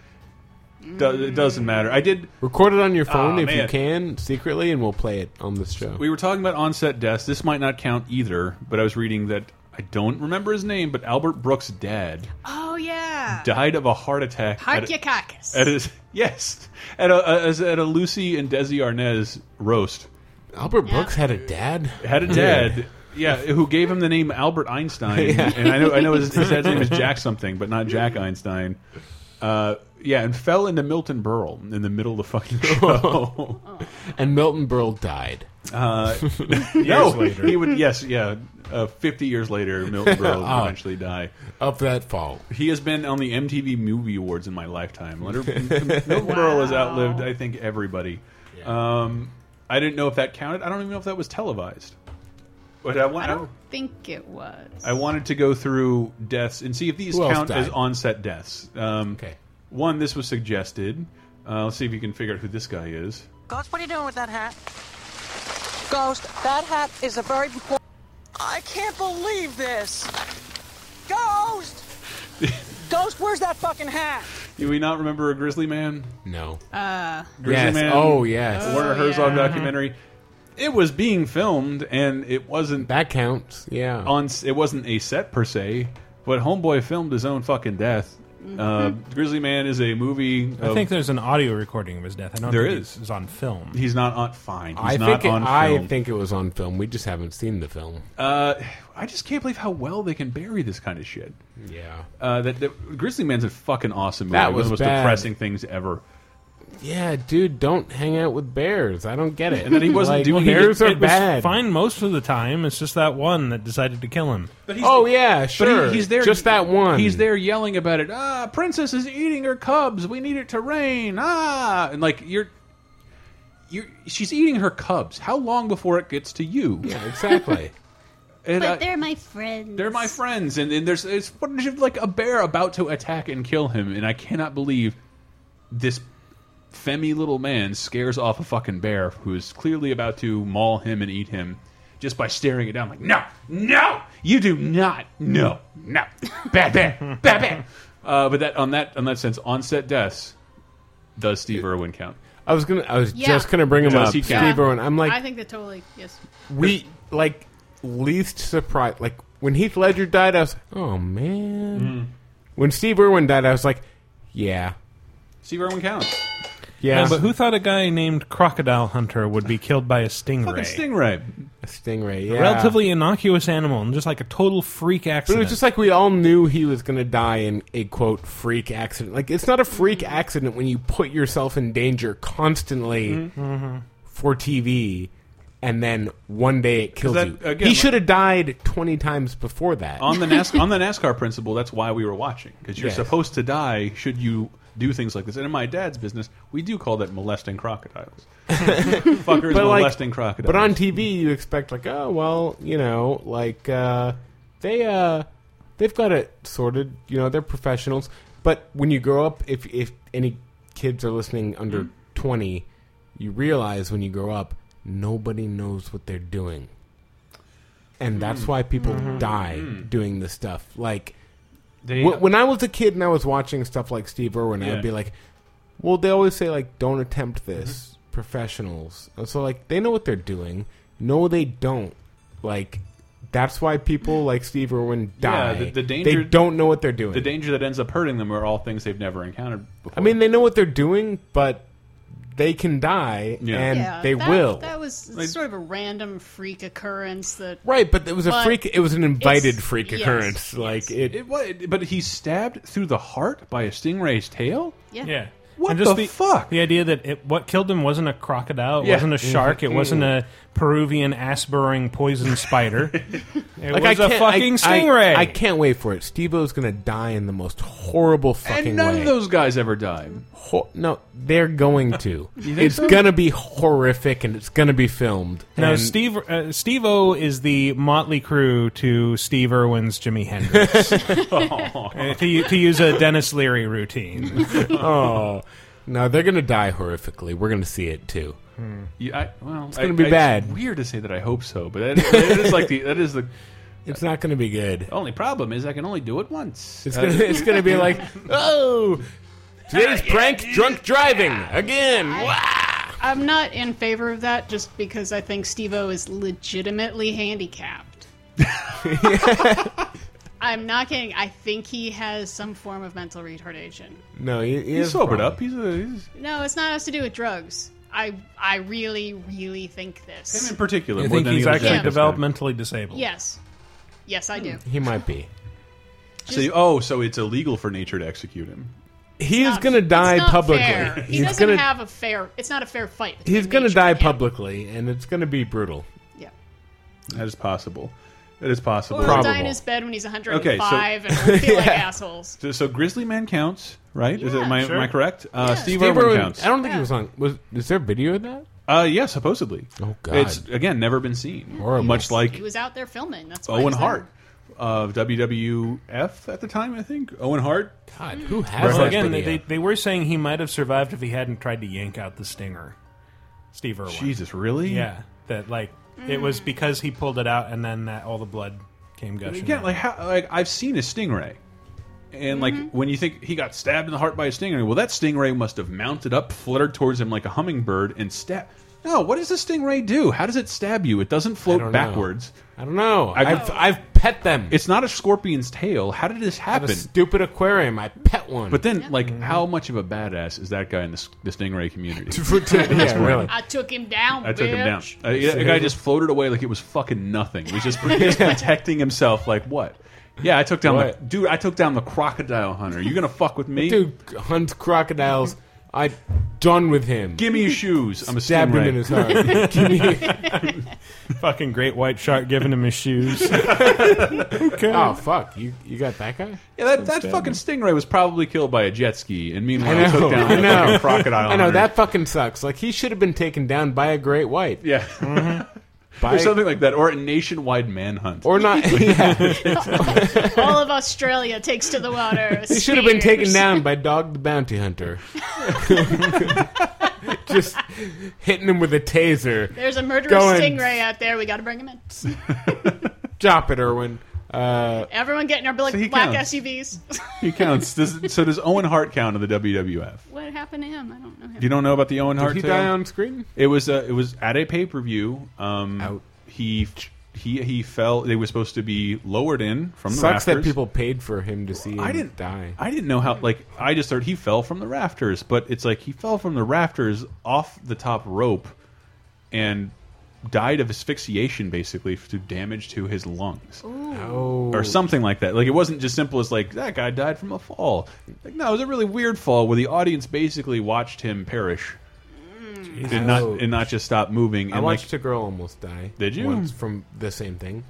Do, it doesn't matter. I did.
Record it on your phone
Aw,
if you
man.
can secretly, and we'll play it on this show.
We were talking about onset deaths. This might not count either, but I was reading that I don't remember his name, but Albert Brooks' dad
Oh yeah,
died of a heart attack. at a-
Harkyakakis.
At his yes, at a, as at a Lucy and Desi Arnaz roast.
Albert
Yeah.
Brooks had a dad.
Had a dad, yeah, who gave him the name Albert Einstein, and I know I know his, his dad's name is Jack something, but not Jack Einstein. Uh, yeah, and fell into Milton Berle in the middle of the fucking show.
Oh.
And Milton Berle died.
Uh, no,
Years later.
he would yes, yeah. Uh, Fifty years later, Milton Berle
Ah.
would eventually die.
Of that fall.
He has been on the MTV Movie Awards in my lifetime. Leonard Milton Berle has outlived, I think, everybody. Um, I didn't know if that counted. I don't even know if that was televised. But I, wa-
I don't think it was.
I wanted to go through deaths and see if these
Who else
count
died?
as onset deaths. Um,
Okay.
One, this was suggested. Uh, let's see if you can figure out who this guy is.
Ghost, what are you doing with that hat? Ghost, that hat is a very important. I can't believe this. Ghost! Ghost, where's that fucking hat?
Do we not remember a Grizzly Man?
No.
Uh.
Grizzly
Yes.
Man.
Oh, yes.
the Warner
Oh,
Herzog
yeah.
documentary. It was being filmed, and it wasn't
That counts. Yeah.
on. It wasn't a set per se, but Homeboy filmed his own fucking death. Uh, Grizzly Man is a movie. Of,
I think there's an audio recording of his death. I don't
There
think
is.
it's on film.
he's not on. Fine, he's
I
not
think it,
on
I
film.
think it was on film. We just haven't seen the film.
uh, I just can't believe how well they can bury this kind of shit.
Yeah.
Uh, that, that Grizzly Man's a fucking awesome movie.
That
One of the
was
most
bad.
depressing things ever.
Yeah, dude, don't hang out with bears. I don't get it.
And that he wasn't
Like,
doing- he
bears
it,
are
it was
bad.
fine most of the time. It's just that one that decided to kill him.
But
Oh yeah, sure.
he's there.
Just that one.
He's there yelling about it. Ah, princess is eating her cubs. We need it to rain. Ah, and like you're, you're. She's eating her cubs. How long before it gets to you?
Yeah, exactly.
And, uh,
But they're my friends.
They're my friends, and, and there's it's what is it, like a bear about to attack and kill him, and I cannot believe this femmy little man scares off a fucking bear who is clearly about to maul him and eat him just by staring it down. Like, no, no, you do not, no, no, bad bear, bad bear. Uh, but that on that on that sense, onset deaths does Steve Irwin count?
I was gonna. I was
Yeah.
just gonna bring him
Does
up,
he
Steve
count?
Irwin. I'm like,
I think that totally yes.
we like least surprised. Like when Heath Ledger died, I was like, oh man.
Mm.
When Steve Irwin died, I was like, yeah,
Steve Irwin counts.
yeah.
No, but who thought a guy named Crocodile Hunter would be killed by a
Fucking
stingray?
stingray.
A stingray? Yeah,
Relatively innocuous animal and just like a total freak
But it
accident.
was just like we all knew he was going to die in a quote freak accident. Like it's not a freak
Mm-hmm.
accident when you put yourself in danger constantly
Mm-hmm.
for TV, and then one day it kills
that,
you.
again,
he
like-
should have died twenty times before that.
on the NAS- on the NASCAR principle, that's why we were watching because you're
Yes.
supposed to die should you do things like this. And in my dad's business, we do call that molesting crocodiles. Fuckers
But, like-
molesting crocodiles.
But on TV, you expect like, oh well, you know, like uh, they uh, they've got it sorted. You know, they're professionals. But when you grow up, if if any kids are listening under twenty, you realize when you grow up, nobody knows what they're doing, and that's why people die doing this stuff. Like
They-
Wh- When I was a kid and I was watching stuff like Steve Irwin,
Yeah.
I'd be like, "Well, they always say like, don't attempt this,
Mm-hmm.
professionals." And so like, they know what they're doing. No, they don't. Like, that's why people like Steve Irwin
Yeah,
die.
the- the
they
danger-
don't know what they're doing.
the danger that ends up hurting them are all things they've never encountered before.
I mean, they know what they're doing, but they can die,
Yeah.
and
yeah,
they
that,
will.
That was sort of a random freak occurrence that
right, but it was a
But
freak. It was an invited
it's-
freak
yes,
occurrence.
yes.
Like it.
It wa- but he's stabbed through the heart by a stingray's tail.
Yeah.
Yeah.
What
and just
the fuck?
The idea that it, what killed him wasn't a crocodile, it
Yeah.
wasn't a
Mm-hmm.
shark, it wasn't
Mm.
a Peruvian ass-burrowing poison spider. It
Like
was
I
a
can't, I-
fucking
I-
stingray.
I, can't wait for it. Steve-O's gonna die in the most horrible fucking
And none
way.
of those guys ever die.
Ho- no, they're going to.
think
it's
so?
gonna be horrific, and it's gonna be filmed.
no,
And
Steve uh, Steve O is the motley crew to Steve Irwin's Jimi Hendrix. Uh, to, u- to use a Dennis Leary routine.
Oh no, they're gonna die horrifically. We're gonna see it too.
You- I, well, it's
gonna be bad.
weird to say that I hope so, but that, that is like the that is the
It's not gonna be good.
only problem is I can only do it once. Uh,
It's gonna, it's gonna be like, oh, today's prank: drunk driving again.
I'm not in favor of that just because I think Steve O is legitimately handicapped. I'm not kidding. I think he has some form of mental retardation.
No, he, he
He's
is
sobered
wrong.
up. He's, a, he's
No, it's not has to do with drugs. I I really, really think
him
this.
in particular.
I
more
think
than
he's
any other
actually
guy.
developmentally disabled.
Yes. Yes, I do.
He might be.
So you- oh, so it's illegal for nature to execute him.
He is
Not-
gonna
it's
die
not
publicly.
fair. He
he's
doesn't
gonna
have a fair. It's not a fair fight. between
he's gonna
nature
die
and him.
publicly, and it's gonna be brutal.
Yeah.
That is possible. That is possible.
Or he'll
Probable.
die in his bed when he's 105
Okay, so-
and we'll feel like assholes.
So, so Grizzly Man counts, right? is it, am, I,
sure.
am I correct? Uh, Steve,
Steve
Irwin,
Irwin-
counts.
I don't think he was on. Was is there video of that?
Uh, yeah, supposedly.
Oh, God.
It's again never been seen.
Horrible.
Much like
He was out there filming. That's why
Owen
he's there.
Hart of WWF at the time, I think. Owen Hart.
God, who has
Well,
that
again, they,
video?
they, they were saying he might have survived if he hadn't tried to yank out the stinger. Steve Irwin.
Jesus, really?
Yeah, that like it was because he pulled it out, and then that, all the blood came gushing.
Again,
out.
like how, like I've seen a stingray, and like when you think he got stabbed in the heart by a stingray, well, that stingray must have mounted up, fluttered towards him like a hummingbird, and stab. No, what does the stingray do? How does it stab you? It doesn't
I
float
don't
backwards.
know. I don't know.
I-
I've, I've pet them.
It's not a scorpion's tail. How did this
at a Mm-hmm.
happen?
stupid aquarium. I pet one.
But then, like, how much of a badass is that guy in the, s- the stingray community?
yeah, really.
I took him down.
I took him down.
bitch.
Uh, yeah, the guy just floated away like it was fucking nothing. He was just, he was protecting himself. Like what? Yeah, I took down the
What?
dude. I took down the crocodile hunter. You gonna fuck with me?
Dude hunts crocodiles. I done with him.
give me your shoes. I'm a
Stabbed him
stingray.
in his heart. Give me-
fucking great white shark giving him his shoes. okay.
oh fuck! You you got that guy?
yeah, that, that fucking stingray was probably killed by a jet ski, and meanwhile
I know,
took down
I
a
know.
fucking crocodile.
I know
hunter.
that fucking sucks. Like he should have been taken down by a great white.
Yeah,
By
or something like that, or a nationwide manhunt.
Mm-hmm. or not. Yeah.
All of Australia takes to the water.
He should have been taken
Spears.
down by Dog the Bounty Hunter. Just hitting him with a taser.
There's a murderous
Go in.
stingray out there. We got to bring him in.
Drop it, Irwin. Uh,
Everyone get in our black,
So he
black
counts.
SUVs.
he counts. Does, so does Owen Hart count in the WWF?
what happened to him? I don't know him.
You don't know about the Owen Hart?
did he
tale?
die on screen?
It was uh, it was at a pay per view. Um,
Out.
He he he fell. They were supposed to be lowered in from the
Sucks that
rafters.
people paid for him to see him
I didn't
die.
I didn't know how. Like I just heard he fell from the rafters, but it's like he fell from the rafters off the top rope and died of asphyxiation, basically, through damage to his lungs
oh,
or something like that. Like it wasn't just simple as like that guy died from a fall. Like no, it was a really weird fall where the audience basically watched him perish. And not and not just stop moving. And
Oh, I
like,
watched a girl almost die.
Did you?
Once from the same thing.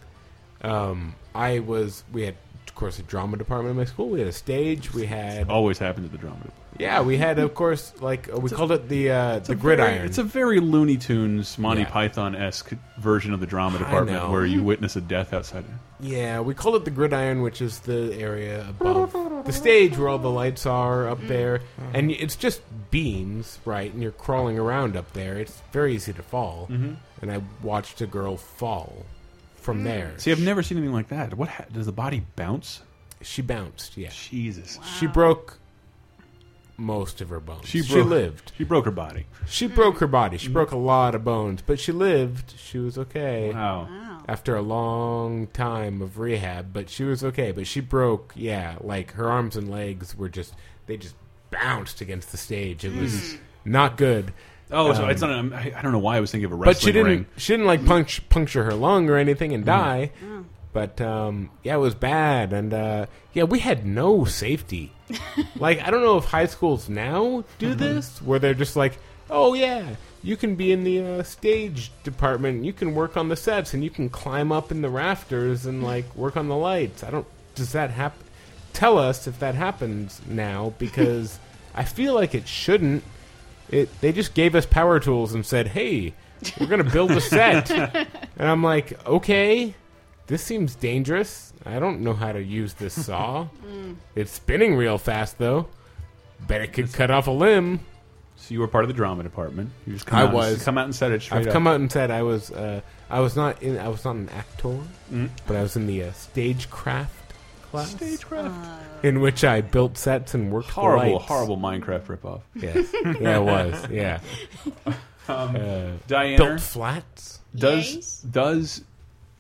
Um, I was. We had, of course, a drama department in my school. We had a stage. We had
Oh. always happens at the drama.
Yeah, we had, of course, like uh, we called it the uh, the
a
gridiron.
very- It's a very Looney Tunes, Monty
Yeah.
Python esque version of the drama department
know.
where you witness a death outside.
yeah, we called it the gridiron, which is the area above the stage where all the lights are up there, and it's just beams, right? And you're crawling around up there. It's very easy to fall. Mm-hmm. And I watched a girl fall from there.
See, I've never seen anything like that. What ha does the body bounce?
She bounced. Yeah,
Jesus,
she broke most of her bones. she
broke-
lived.
She broke her body.
She broke her body. She broke a lot of bones, but she lived. She was okay.
Wow.
After a long time of rehab, but she was okay. But she broke, yeah, like her arms and legs were just they just bounced against the stage. It was not good.
Oh, so it's not. an- I I don't know why I was thinking of a wrestling
But she didn't
ring. Mm.
she didn't like punch, puncture her lung or anything and die. But um, yeah, it was bad, and uh, yeah, we had no safety. like I don't know if high schools now
Mm-hmm.
do this, where they're just like, oh yeah, you can be in the uh, stage department, you can work on the sets, and you can climb up in the rafters and like work on the lights. I don't. Does that happen? Tell us if that happens now, because I feel like it shouldn't. It they just gave us power tools and said, hey, we're gonna build a set, and I'm like, okay. This seems dangerous. I don't know how to use this saw. It's spinning real fast, though. Bet it could cut off a limb.
So you were part of the drama department. You just come
I
out and-
was.
come out and said it straight
I've
up.
come out and said I was uh, I was not in I was not an actor, but I was in the uh, stagecraft class,
Mm.
Ah.
Stagecraft.
in which I built sets and worked the
horrible,
lights.
horrible Minecraft ripoff.
Yes, yeah, it was. Yeah, Uh,
Diana
built flats.
does
Yes.
does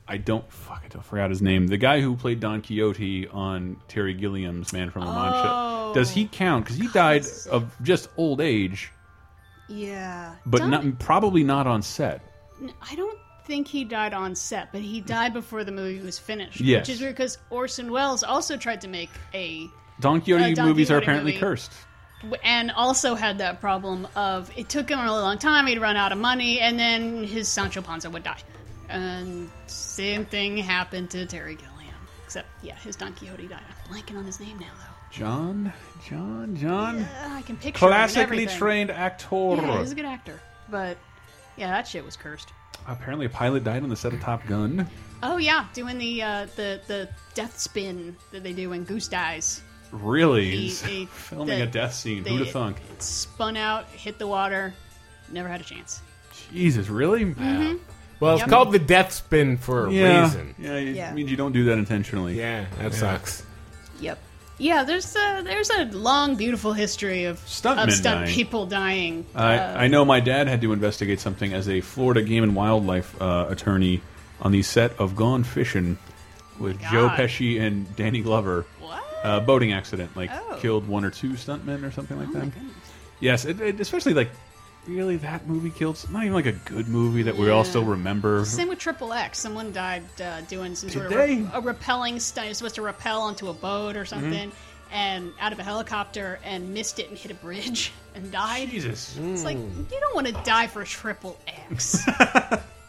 I don't fuck I don't forgot his name. The guy who played Don Quixote on Terry Gilliam's Man from La Mancha.
Oh.
Does he count? Because he died of just old age,
Yeah.
but
Don-
not probably not on set.
I don't think he died on set, but he died before the movie was finished.
Yes.
Which is weird because Orson Welles also tried to make a.
Don Quixote
Uh, Don
movies are
Quixote
apparently
movie.
cursed.
And also had that problem of it took him a really long time, he'd run out of money, and then his Sancho Panza would die. And same thing happened to Terry Gilliam. Except, yeah, his Don Quixote died. I'm blanking on his name now, though.
John, John, John.
Uh, I can picture him and
Classically
everything.
trained actor.
Yeah, he's a good actor. But, yeah, that shit was cursed.
Apparently, a pilot died on the set of Top Gun.
Oh yeah, doing the uh, the the death spin that they do when Goose dies.
Really,
He- he-
filming
the-
a death scene.
they-
Who'da thunk?
It spun out, hit the water, never had a chance.
Jesus, really?
Mm-hmm.
Well, it's
Yep.
called the death spin for a
Yeah,
reason.
yeah. It
Yeah.
means you don't do that intentionally.
Yeah, that sucks.
Yep. Yeah, there's a there's a long, beautiful history of
Stuntmen
of stunt
dying. Uh,
people dying.
I,
Uh,
I know my dad had to investigate something as a Florida Game and Wildlife uh, attorney on the set of Gone Fishing with Joe
Oh God.
Pesci and Danny Glover.
What?
A boating accident, like
Oh.
killed one or two stuntmen or something
Oh
like that.
goodness.
Yes, it, it- especially like really that movie killed. s- Not even like a good movie that we all still remember.
Same with Triple X. Someone died uh, doing some sort
Did
of
they?
re- a repelling stunt. He was supposed to rappel onto a boat or
Mm-hmm.
something, and out of a helicopter, and missed it and hit a bridge and died.
Jesus,
Mm.
It's like you don't want to die for triple X.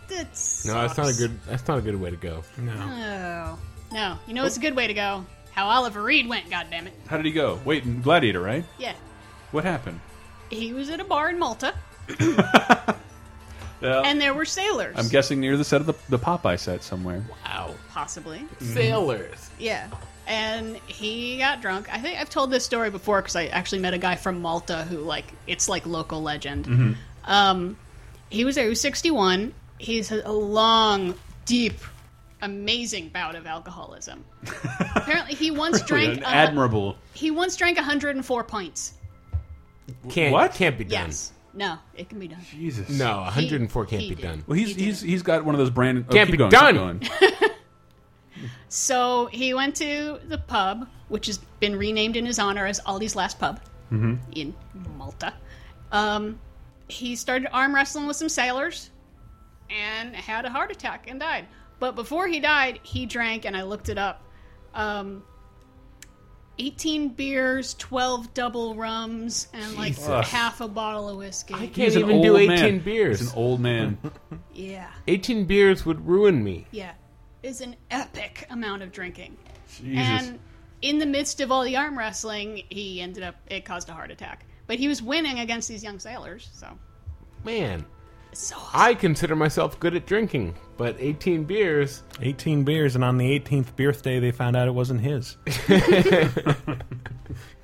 That's
No, that's not a good. That's not a good way to go.
No, Oh. no. You know it's a good way to go. How Oliver Reed went, goddammit.
how did he go? Wait, in Gladiator, right?
Yeah,
What happened?
he was at a bar in Malta, and there were sailors.
I'm guessing near the set of the, the Popeye set somewhere.
Wow,
possibly.
Mm-hmm.
sailors.
Yeah. And he got drunk. I think I've told this story before because I actually met a guy from Malta who, like, it's like local legend.
Mm-hmm.
Um, he was there. He was 61. He's had a long, deep, amazing bout of alcoholism. Apparently, he once
Really,
drank.
an
a hun-
admirable.
He once drank 104 pints.
Can't
What?
can't be done.
Yes. No, it can be done.
Jesus.
No, 104
He-
can't
he
be
did.
done.
Well, he's he's he's got one of those brand. oh,
Can't
keep
be
going, keep
done.
going.
So he went to the pub, which has been renamed in his honor as Aldi's Last Pub in Malta. Um, he started arm wrestling with some sailors and had a heart attack and died. But before he died, he drank, and I looked it up um, 18 beers, 12 double rums, and like
Jesus.
half a bottle of whiskey.
I can't
He's an
even do
old
18
man.
beers.
He's an old man.
Yeah,
18 beers would ruin me.
yeah. Is an epic amount of drinking.
Jesus.
And in the midst of all the arm wrestling, he ended up it caused a heart attack. But he was winning against these young sailors, so
Man,
it's so awesome.
I consider myself good at drinking, but 18 beers.
18 beers, and on the 18th birthday, they found out it wasn't his.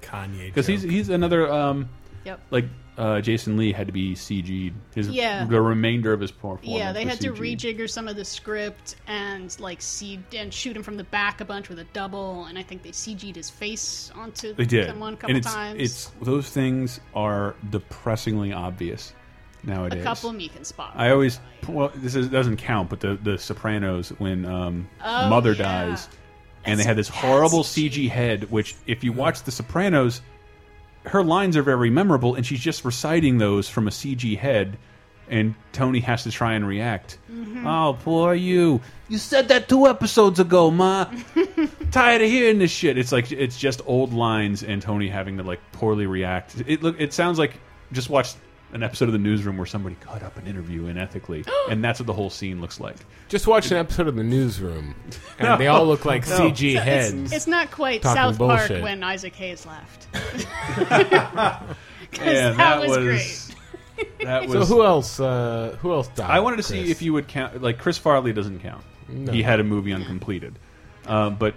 Kanye.
because he's he's another um,
Yep.
like uh, Jason Lee had to be CG'd. His
Yeah.
the remainder of his performance.
Yeah, they
was
had to
CG'd.
rejigger some of the script and like see and shoot him from the back a bunch with a double, and I think they CG'd his face onto
They did
someone a couple
and it's,
times.
It's those things are depressingly obvious nowadays.
a couple me can spot.
I always well, this is, doesn't count, but the the Sopranos when um, mother
Oh, yeah.
dies, and they had this horrible CG head. Which, if you watch the Sopranos, her lines are very memorable, and she's just reciting those from a CG head. And Tony has to try and react.
Mm-hmm.
Oh, poor you! You said that two episodes ago, ma. Tired of hearing this shit. It's like it's just old lines, and Tony having to like poorly react. It look. It sounds like just watch an episode of the newsroom where somebody cut up an interview inethically, and that's what the whole scene looks like.
Just watch an episode of the newsroom, and they all look like CG
So it's-
heads.
It's, not quite
Talking
South
bullshit.
Park when Isaac Hayes left. 'Cause
And
that, was, great.
That
so
was.
who else? Uh, who else died?
I wanted to see
Chris?
if you would count. Like Chris Farley doesn't count. He had a movie uncompleted, um, but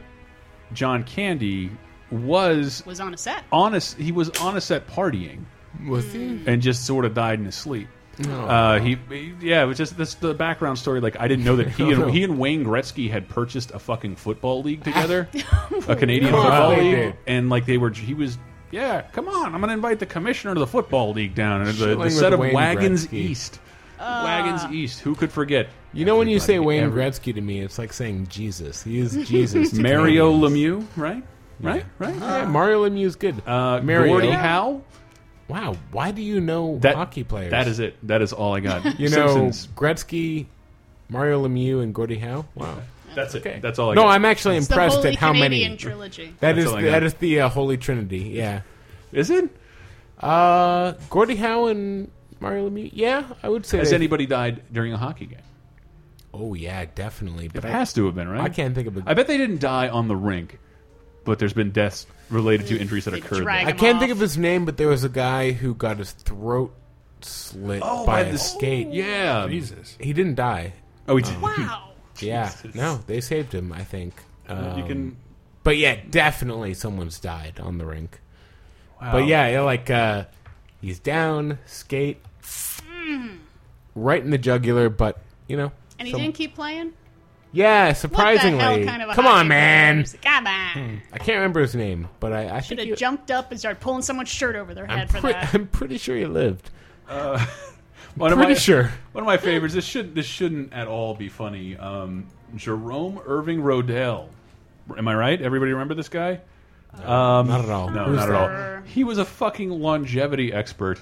John Candy was
Was on a set.
on a, He was on a set partying
Was he?
and just sort of died in his sleep. Uh, he, he- yeah, it was just this the background story. Like I didn't know that he and he and Wayne Gretzky had purchased a fucking football league together, a Canadian
Wow.
football
They
league,
did.
and like they were. He was, yeah, come on, I'm gonna invite the commissioner to the football league down and the,
Chilling
the
with
set of
Wayne
wagons
Gretzky.
east,
Uh,
wagons east. Who could forget?
You know when you say
Everybody,
Wayne
every-
Gretzky to me, it's like saying Jesus. He is Jesus. to
Mario
Canadians.
Lemieux, right, right, right.
Yeah, Mario Lemieux's good.
Uh,
Mario.
Gordie Howe.
Wow, why do you know
That-
hockey players?
That is it. That is all I got.
You know
Simpsons.
Gretzky, Mario Lemieux, and Gordie Howe. Wow.
That's it. That's all I
no,
got.
I'm actually
It's the
impressed
Holy
at how
Canadian
many.
trilogy.
That
That's
is
all I
the,
got.
that is the uh, Holy Trinity. Yeah.
Is it?
Uh, Gordie Howe and Mario Lemieux. Yeah, I would say.
Has
they-
anybody died during a hockey game?
oh yeah, definitely. But I,
Has to have been, right?
I can't think of a.
I bet they didn't die on the rink, but there's been deaths related to injuries that
They
occurred.
drag
there.
I
him
can't
off.
think of his name, but there was a guy who got his throat slit
Oh,
by,
by
a
the-
skate.
Yeah.
Jesus.
He didn't die.
Oh, he did.
Wow.
Yeah. No, they saved him, I think.
You can.
But yeah, definitely someone's died on the rink.
Wow.
But yeah, yeah, like uh he's down, skate right in the jugular, but you know.
Mm. And he
some-
didn't keep playing?
Yeah,
What the
surprisingly.
hell kind of a
Come on,
hockey player
man. Hmm.
is- Come on.
I can't remember his name, but I, I
Should
think
have
he-
jumped up and started pulling someone's shirt over their
I'm,
head for
pre-
that.
I'm pretty sure he lived.
one
pretty
of my,
sure.
One of my favorites. This should this shouldn't at all be funny. Um, Jerome Irving Rodell. Am I right? Everybody remember this guy? Um,
Not at all.
No,
Who's
not
that?
at all. He was a fucking longevity expert,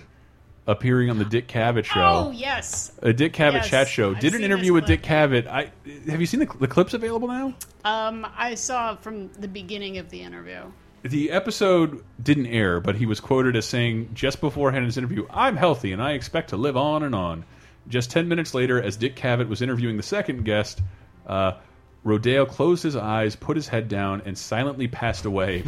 appearing on the Dick Cavett show.
Oh, yes.
A Dick Cavett
Yes,
chat show.
I've
Did an
seen
interview
this
with Dick Cavett. I have you seen the, the clips available now?
Um, I saw from the beginning of the interview.
The episode didn't air, but he was quoted as saying just beforehand in his interview, "I'm healthy and I expect to live on and on." Just ten minutes later, as Dick Cavett was interviewing the second guest, uh, Rodeo closed his eyes, put his head down, and silently passed away,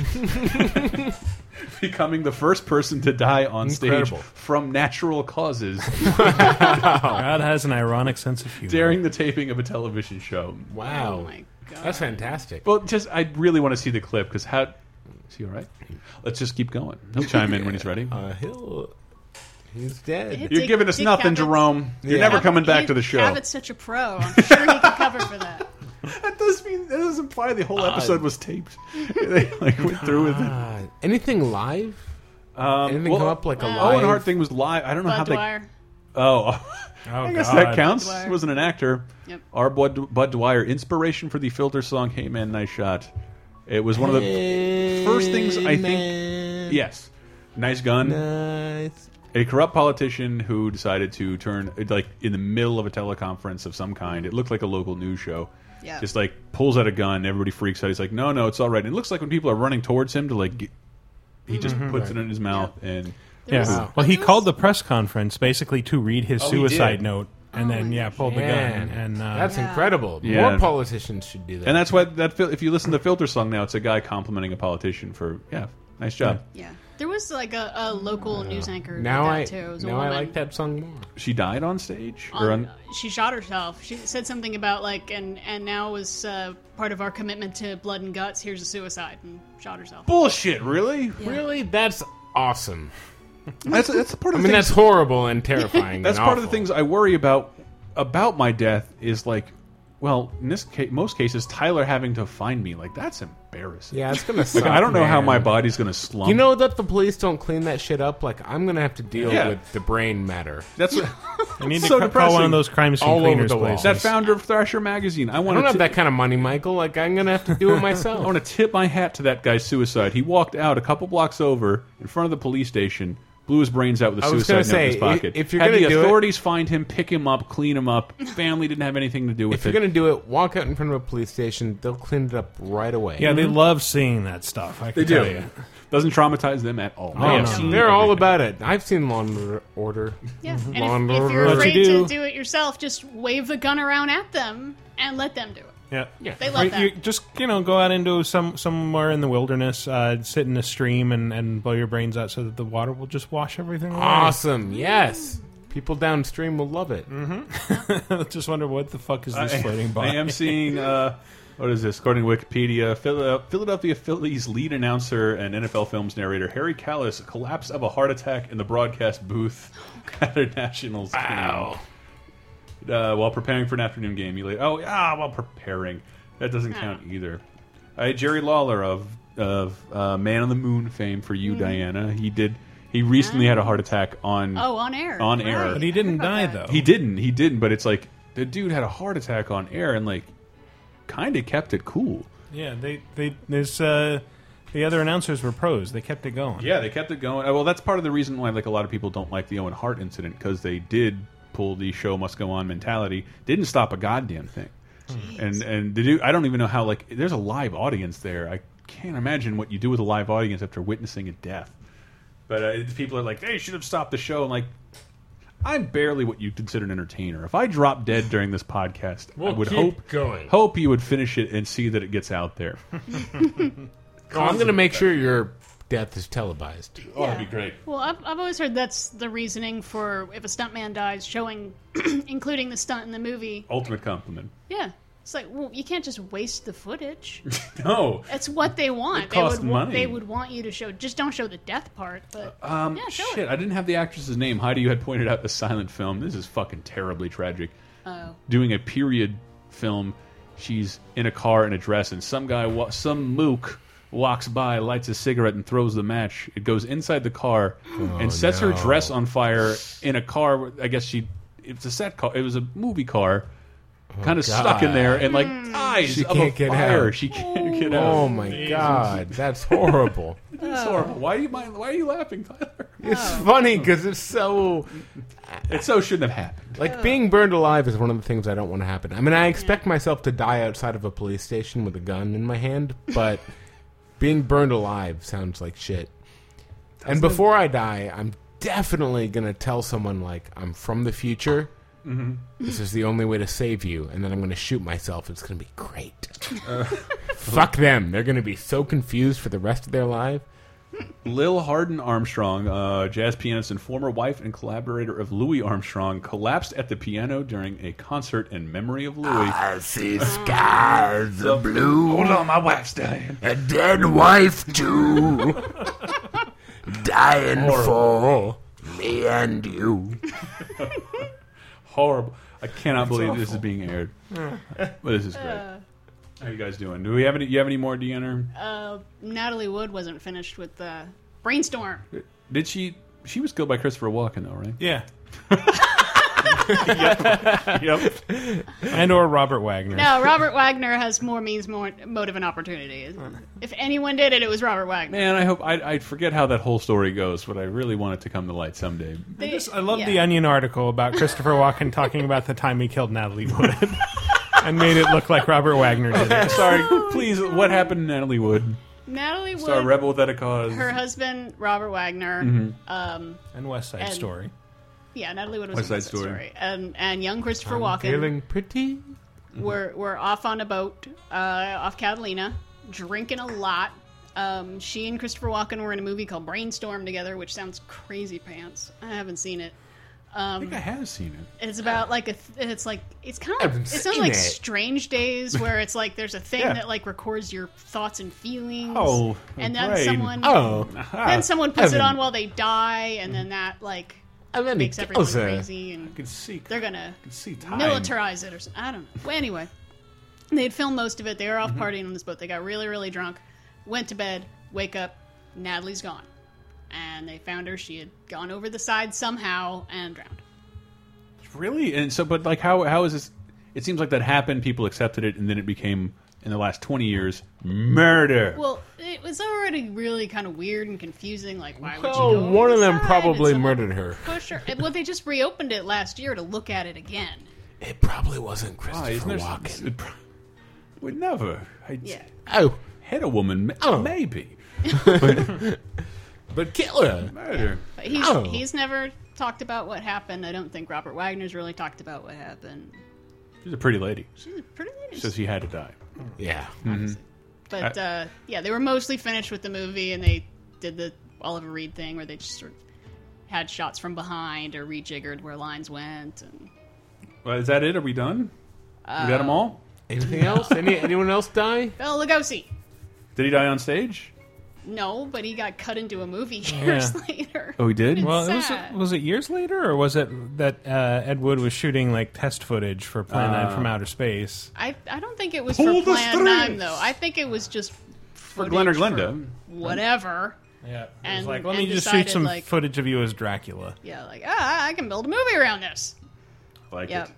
becoming the first person to die on
Incredible.
stage from natural causes Oh.
God has an ironic sense of humor.
during the taping of a television show.
Wow.
Oh my God.
That's fantastic.
Well, just I really want to see the clip because how. Is he all right? Let's just keep going. He'll chime in when he's ready.
Uh, he'll, he's dead.
It-
You're
Dick-
giving us
Dick
nothing,
Cavett's-
Jerome. You're
Yeah.
never coming back
He-
to the show.
Cabot's such a pro. I'm sure he can cover for that.
That does mean that does imply the whole episode was taped. they like went through with it.
Uh, anything live?
Um,
Anything come up like a live?
Owen Hart thing was live. I don't know how
Budweiser.
they. Oh,
Oh,
I guess
God.
that counts.
Dwyer.
He wasn't an actor.
Yep.
Our Bud, Bud Dwyer, inspiration for the Filter song "Hey Man, Nice Shot." It was one of the first things I think.
Man,
Yes, nice gun.
nice.
a corrupt politician who decided to turn like in the middle of a teleconference of some kind. It looked like a local news show.
Yeah.
Just like pulls out a gun, everybody freaks out. He's like, "No, no, it's all right." And it looks like when people are running towards him to like, get, he just
Mm-hmm.
puts it in his mouth and
Yeah.
was-
Well, he
there was-
called the press conference basically to read his
Oh, he
suicide
did.
note and then yeah, pulled the gun
Man,
and uh,
that's
Yeah.
incredible.
Yeah.
More politicians should do that.
And that's why that fil- if you listen to the filter song now, it's a guy complimenting a politician for yeah, nice job.
Yeah. There was like a, a local news anchor. who
Uh, now
did
I
that too. It was a
now I
woman.
like that song more.
She died on stage
on-
or on.
she shot herself. She said something about like, and and now is uh, part of our commitment to blood and guts. Here's a suicide, and shot herself.
Bullshit, really?
Really, that's awesome.
That's that's part
I
of the
mean,
things,
that's horrible and terrifying.
that's
and
part of the
awful.
things I worry about about my death is like, well, in this case, most cases, Tyler having to find me like that's embarrassing.
Yeah, it's gonna.
Like
suck,
I don't know how
man.
my body's gonna slump.
You know that the police don't clean that shit up. Like I'm gonna have to deal
Yeah.
with the brain matter.
that's what,
you need to
so
cr- call
depressing.
one of those crime scene
All over
cleaners
the wall.
places.
that founder of Thrasher magazine. I
I
want
don't
to
have that kind of money, Michael. Like I'm gonna have to do it myself.
I want to tip my hat to that guy's suicide. He walked out a couple blocks over in front of the police station, blew his brains out with a
I was
suicide note
gonna
in his
say,
pocket.
i- if you're
Had
gonna
the
do it-
authorities find him, pick him up, clean him up. Family didn't have anything to do with
if you're
it.
gonna do it, walk out in front of a police station. They'll clean it up right away.
yeah, they love seeing that stuff. I can tell you.
Doesn't traumatize them at all. They
Oh,
have
no.
seen
they're all
everything.
about it. I've seen Law and Order- Order.
Yeah, and
Lawn
if, if you're
What
you
afraid
do-
to do it yourself, just wave the gun around at them and let them do it.
Yeah, yeah.
They love that.
You just you know go out into some somewhere in the wilderness, uh, sit in a stream, and, and blow your brains out so that the water will just wash everything. away.
Mm-hmm.
Awesome. Yes. People downstream will love it.
just wonder what the fuck is this
I-
floating by?
I am seeing. Uh, what is this? According to Wikipedia, Phila- Philadelphia Phillies lead announcer and NFL Films narrator Harry Callis collapsed of a heart attack in the broadcast booth at a Nationals game. Uh, while preparing for an afternoon game, he laid. Oh, ah, while preparing, that doesn't count either. I Jerry Lawler of of uh, Man on the Moon fame for you, Diana. He did. He recently had a heart attack on
Oh, on air.
On air.
Right.
but he didn't
I heard
die
about
though.
he didn't. He didn't. But it's like the dude had a heart attack on air and like kind of kept it cool.
yeah, they they there's uh, the other announcers were pros. They kept it going.
Yeah, they kept it going. Uh, Well, that's part of the reason why like a lot of people don't like the Owen Hart incident because they did pull the show must go on mentality. Didn't stop a goddamn thing. And and the dude, I don't even know how like there's a live audience there. I can't imagine what you do with a live audience after witnessing a death. But uh, people are like, they should have stopped the show. And like, I'm barely what you consider an entertainer. If I drop dead during this podcast, I
We'll
would
keep
hope
going.
hope you would finish it and see that it gets out there.
Oh, I'm gonna make sure your death is televised.
Oh, that'd be great.
Well, I've, I've always heard that's the reasoning for if a stuntman dies, showing, including the stunt in the movie.
Ultimate compliment.
Yeah. It's like, well, you can't just waste the footage.
No,
That's what they want.
It costs
they would, wa-
money.
They would want you to show. Just don't show the death part. But
Um,
yeah, show
shit,
it.
I didn't have the actress's name. Heidi, you had pointed out the silent film. This is fucking terribly tragic.
Oh.
Doing a period film, she's in a car in a dress, and some guy, wa some mook, walks by, lights a cigarette, and throws the match. It goes inside the car and sets her
Oh, no.
dress on fire in a car. where- I guess she, it's a set car. It was a movie car, kind of stuck in there, and like
Hmm.
dies
Oh, She
of a
can't get
fire.
out.
She can't get out.
Oh my god, that's horrible.
It's horrible. Why are you mind, Why are you laughing, Tyler?
It's
Oh.
funny because it's so
It so shouldn't have happened.
like being burned alive is one of the things I don't want to happen. I mean, I expect myself to die outside of a police station with a gun in my hand, but being burned alive sounds like shit. and before I die, I'm definitely gonna tell someone like I'm from the future. This is the only way to save you, and then I'm gonna shoot myself. It's gonna be great. Fuck them. They're gonna be so confused for the rest of their life.
Lil Hardin Armstrong, uh, jazz pianist and former wife and collaborator of Louis Armstrong, collapsed at the piano during a concert in memory of Louis.
I see skies of blue.
Ah, Hold on, my wife's dying.
A dead wife, too. Dying for me and you.
Horrible. I cannot believe this is being aired. But this is great. How you guys doing? Do we have any? You have any more, Deanna?
Natalie Wood wasn't finished with the brainstorm.
Did she? She was killed by Christopher Walken, though, right?
Yeah.
yep.
and or Robert Wagner.
No, Robert Wagner has more means, more motive, and opportunity. If anyone did it, it was Robert Wagner.
Man, I hope I, I forget how that whole story goes, but I really want it to come to light someday.
They-
This- I love
yeah.
the Onion article about Christopher Walken talking about the time he killed Natalie Wood and made it look like Robert Wagner did it.
Sorry, please. What happened to Natalie Wood?
Natalie Wood,
Star Rebel Without a Cause.
Mm-hmm.
her husband Robert Wagner, um,
And West Side
And-
Story.
yeah, Natalie Wood was
West
in
Side
West Side
Story.
Story. And and young Christopher Walken
Feeling pretty?
we're we're off on a boat uh, off Catalina, drinking a lot. Um, she and Christopher Walken were in a movie called Brainstorm together, which sounds crazy pants. I haven't seen it.
I think I have seen it.
It's about like a. Th- it's like it's kind of.
haven't
It sounds
seen
like
it.
Strange Days, where it's like there's a thing
Yeah.
that like records your thoughts and feelings.
Oh, a
and then
brain. ah,
someone.
Oh.
Then someone puts it
Evan.
on while they die, and then that like
And then
makes
he
everyone
kills her.
crazy. And
I can see.
they're gonna
I can see time.
militarize it or something. I don't know. Well, anyway, they had filmed most of it. They were
Mm-hmm.
off partying on this boat. They got really, really drunk, went to bed, wake up, Natalie's gone. And they found her. She had gone over the side somehow and drowned.
Really? And so, but like, how how is this? It seems like that happened. People accepted it, and then it became in the last twenty years murder.
Well, it was already really kind of weird and confusing. Like, why would you
Well,
go over
one of
the
them
side?
probably
And someone
murdered her.
Pushed her. Well, they just reopened it last year to look at it again.
It probably wasn't Christopher
Why, Ah, isn't there some-
Walken.
it pro- would never. I
Yeah.
Oh,
hit a woman. ma-
Oh.
Maybe
but kill her.
murder.
But he's
Oh.
he's never talked about what happened. I don't think Robert Wagner's really talked about what happened.
She's a pretty lady.
She's a pretty lady.
Says he had to die.
Yeah. mm-hmm.
But uh, yeah, they were mostly finished with the movie, and they did the Oliver Reed thing where they just sort of had shots from behind or rejiggered where lines went. And
Well, is that it? Are we done? we got
Uh,
them all.
Anything else? Any anyone else die?
Bela Lugosi,
Did he die on stage?
no, but he got cut into a movie years later.
Oh, he did.
Well, it was
Sad.
was it years later, or was it that uh, Ed Wood was shooting like test footage for Plan Nine from Outer Space?
I I don't think it was
Pull
for
the
Plan Nine
strings!
though. I think it was just for
Glenn or Glenda.
whatever.
Yeah, it
And-
was like let me
and
just
decided,
shoot some
like-
footage of you as Dracula.
Yeah, like ah, I can build a movie around this.
Like
Yep.
it.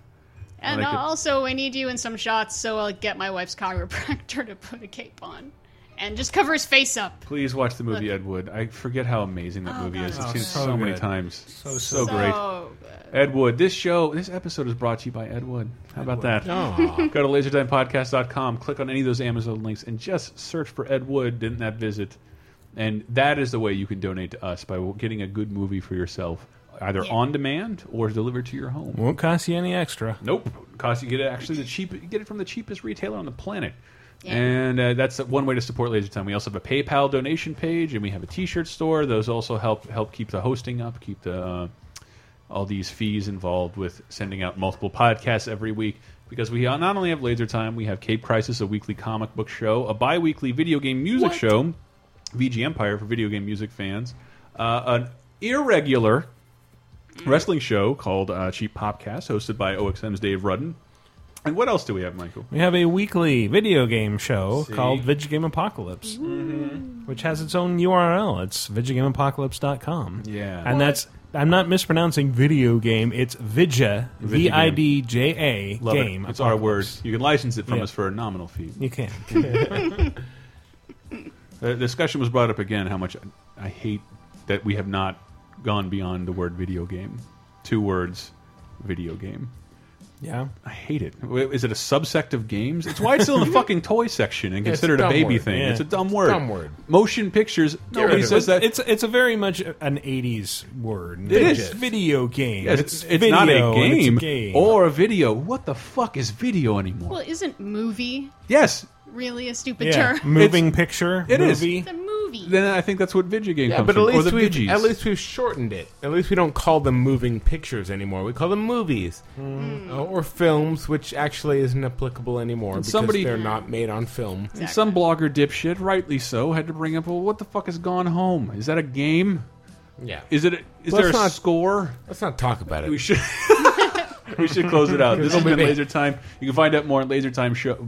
And
like it.
also, I need you in some shots, so I'll get my wife's chiropractor to put a cape on and just cover his face up.
Please watch the movie Ed Wood. I forget how amazing
Oh,
that movie is. I've seen it so,
so good.
many times. So so, great.
So good.
Ed Wood. This show, this episode is brought to you by Ed Wood. How about that?
Oh,
Go to lasertimepodcast.com, click on any of those Amazon links, and just search for Ed Wood. Didn't that visit? And that is the way you can donate to us by getting a good movie for yourself, either on demand or delivered to your home.
Won't cost you any extra.
Nope, cost you get it actually the cheap. You get it from the cheapest retailer on the planet, and uh, that's one way to support Laser Time. We also have a PayPal donation page, and we have a T-shirt store. Those also help help keep the hosting up, keep the uh, all these fees involved with sending out multiple podcasts every week. Because we not only have Laser Time, we have Cape Crisis, a weekly comic book show, a bi-weekly video game music show, VG Empire for video game music fans, uh, an irregular wrestling show called uh, Cheap Popcast, hosted by OXM's Dave Rudden. And what else do we have, Michael?
We have a weekly video game show called Video Game Apocalypse,
Mm-hmm.
which has its own URL. It's videogameapocalypse.com.
Yeah.
And that's, I'm not mispronouncing video game, it's Vidja, V I D J A
Love it.
game.
It's our word.
Apocalypse.
You can license it from
Yeah.
us for a nominal fee.
You can.
The discussion was brought up again how much I hate that we have not gone beyond the word video game. Two words, video game.
Yeah.
I hate it. W- Is it a subsect of games? It's why it's still in the fucking toy section and
it's a
considered a,
dumb
baby
word.
thing.
Yeah.
It's a dumb
It's a
word.
dumb word.
Motion pictures. Nobody
Derivative.
says that.
It's it's a very much an 80s word.
It is.
Video game.
Yes, it's, it's not a
video and it's
game,
game.
or a video. What the fuck is video anymore?
Well, isn't movie
yes,
really a stupid
yeah.
term?
moving picture.
it is.
movie.
It's a movie.
then I think that's what video game
yeah,
comes
but at
from, or
least
the
we
Vidgies.
at least we've shortened it. At least we don't call them moving pictures anymore. We call them movies
Hmm.
Uh, or films, which actually isn't applicable anymore because
somebody-
they're not made on film.
And some blogger dipshit, rightly so, had to bring up. Well, what the fuck is Gone Home? Is that a game?
Yeah,
Is it? A, is
Let's
there a
not-
score?
let's not talk about it.
We should. we should close it out. This has been Laser Time. You can find out more at Laser Time Show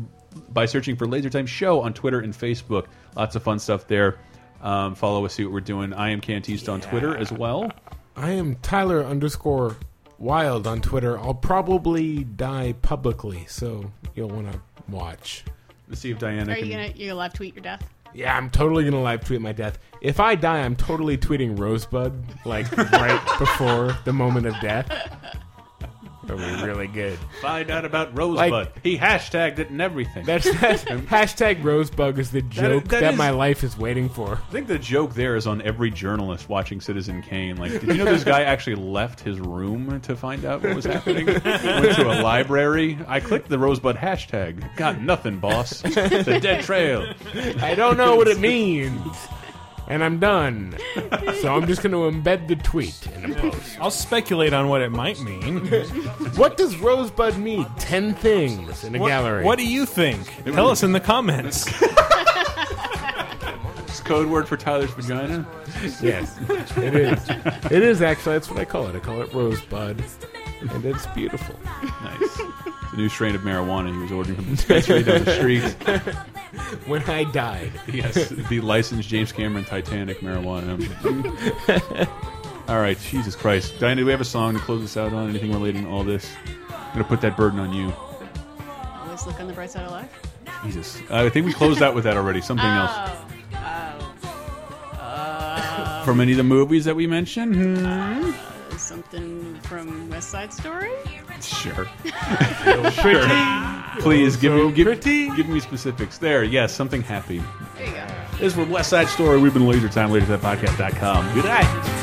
by searching for Laser Time Show on Twitter and Facebook. Lots of fun stuff there. Um, follow us, see what we're doing. I am Cantiste on Twitter as well.
I am Tyler underscore Wild on Twitter. I'll probably die publicly, so you'll want to watch.
Let's see if Diana
Are
can.
you gonna you gonna live tweet your death?
Yeah, I'm totally gonna live tweet my death. If I die, I'm totally tweeting Rosebud like right before the moment of death. That would be really good.
Find out about Rosebud.
Like-
he hashtagged it and everything.
That's, that's hashtag Rosebug is the joke that,
that is-
my life is waiting for.
I think the joke there is on every journalist watching Citizen Kane. Like, did you know this guy actually left his room to find out what was happening? Went to a library. I clicked the Rosebud hashtag. Got nothing, boss. The dead trail.
I don't know what it means, and I'm done. So I'm just going to embed the tweet in a post.
I'll speculate on what it might mean.
What does Rosebud mean? Ten things in a gallery.
What do you think? Tell us in the comments.
It's code word for Tyler's vagina.
Yes, it is. It is actually. That's what I call it. I call it Rosebud, and it's beautiful.
Nice. The new strain of marijuana he was ordering from the dispensary down the street.
When I died,
Yes, the licensed James Cameron Titanic marijuana. all right, Jesus Christ. Diana, do we have a song to close this out on? Anything relating to all this? I'm going to put that burden on you.
Always look on the bright side of life. Oh.
Jesus. I think we closed out with that already. Something else. From any of the movies that we mentioned? Hmm.
Something from West Side Story?
Sure. Pretty. Please give me give, give me specifics. There, yes, something happy.
There you go.
This is from West Side Story. We've been Laser Time, lasertimelasertimepodcast.com. Good night.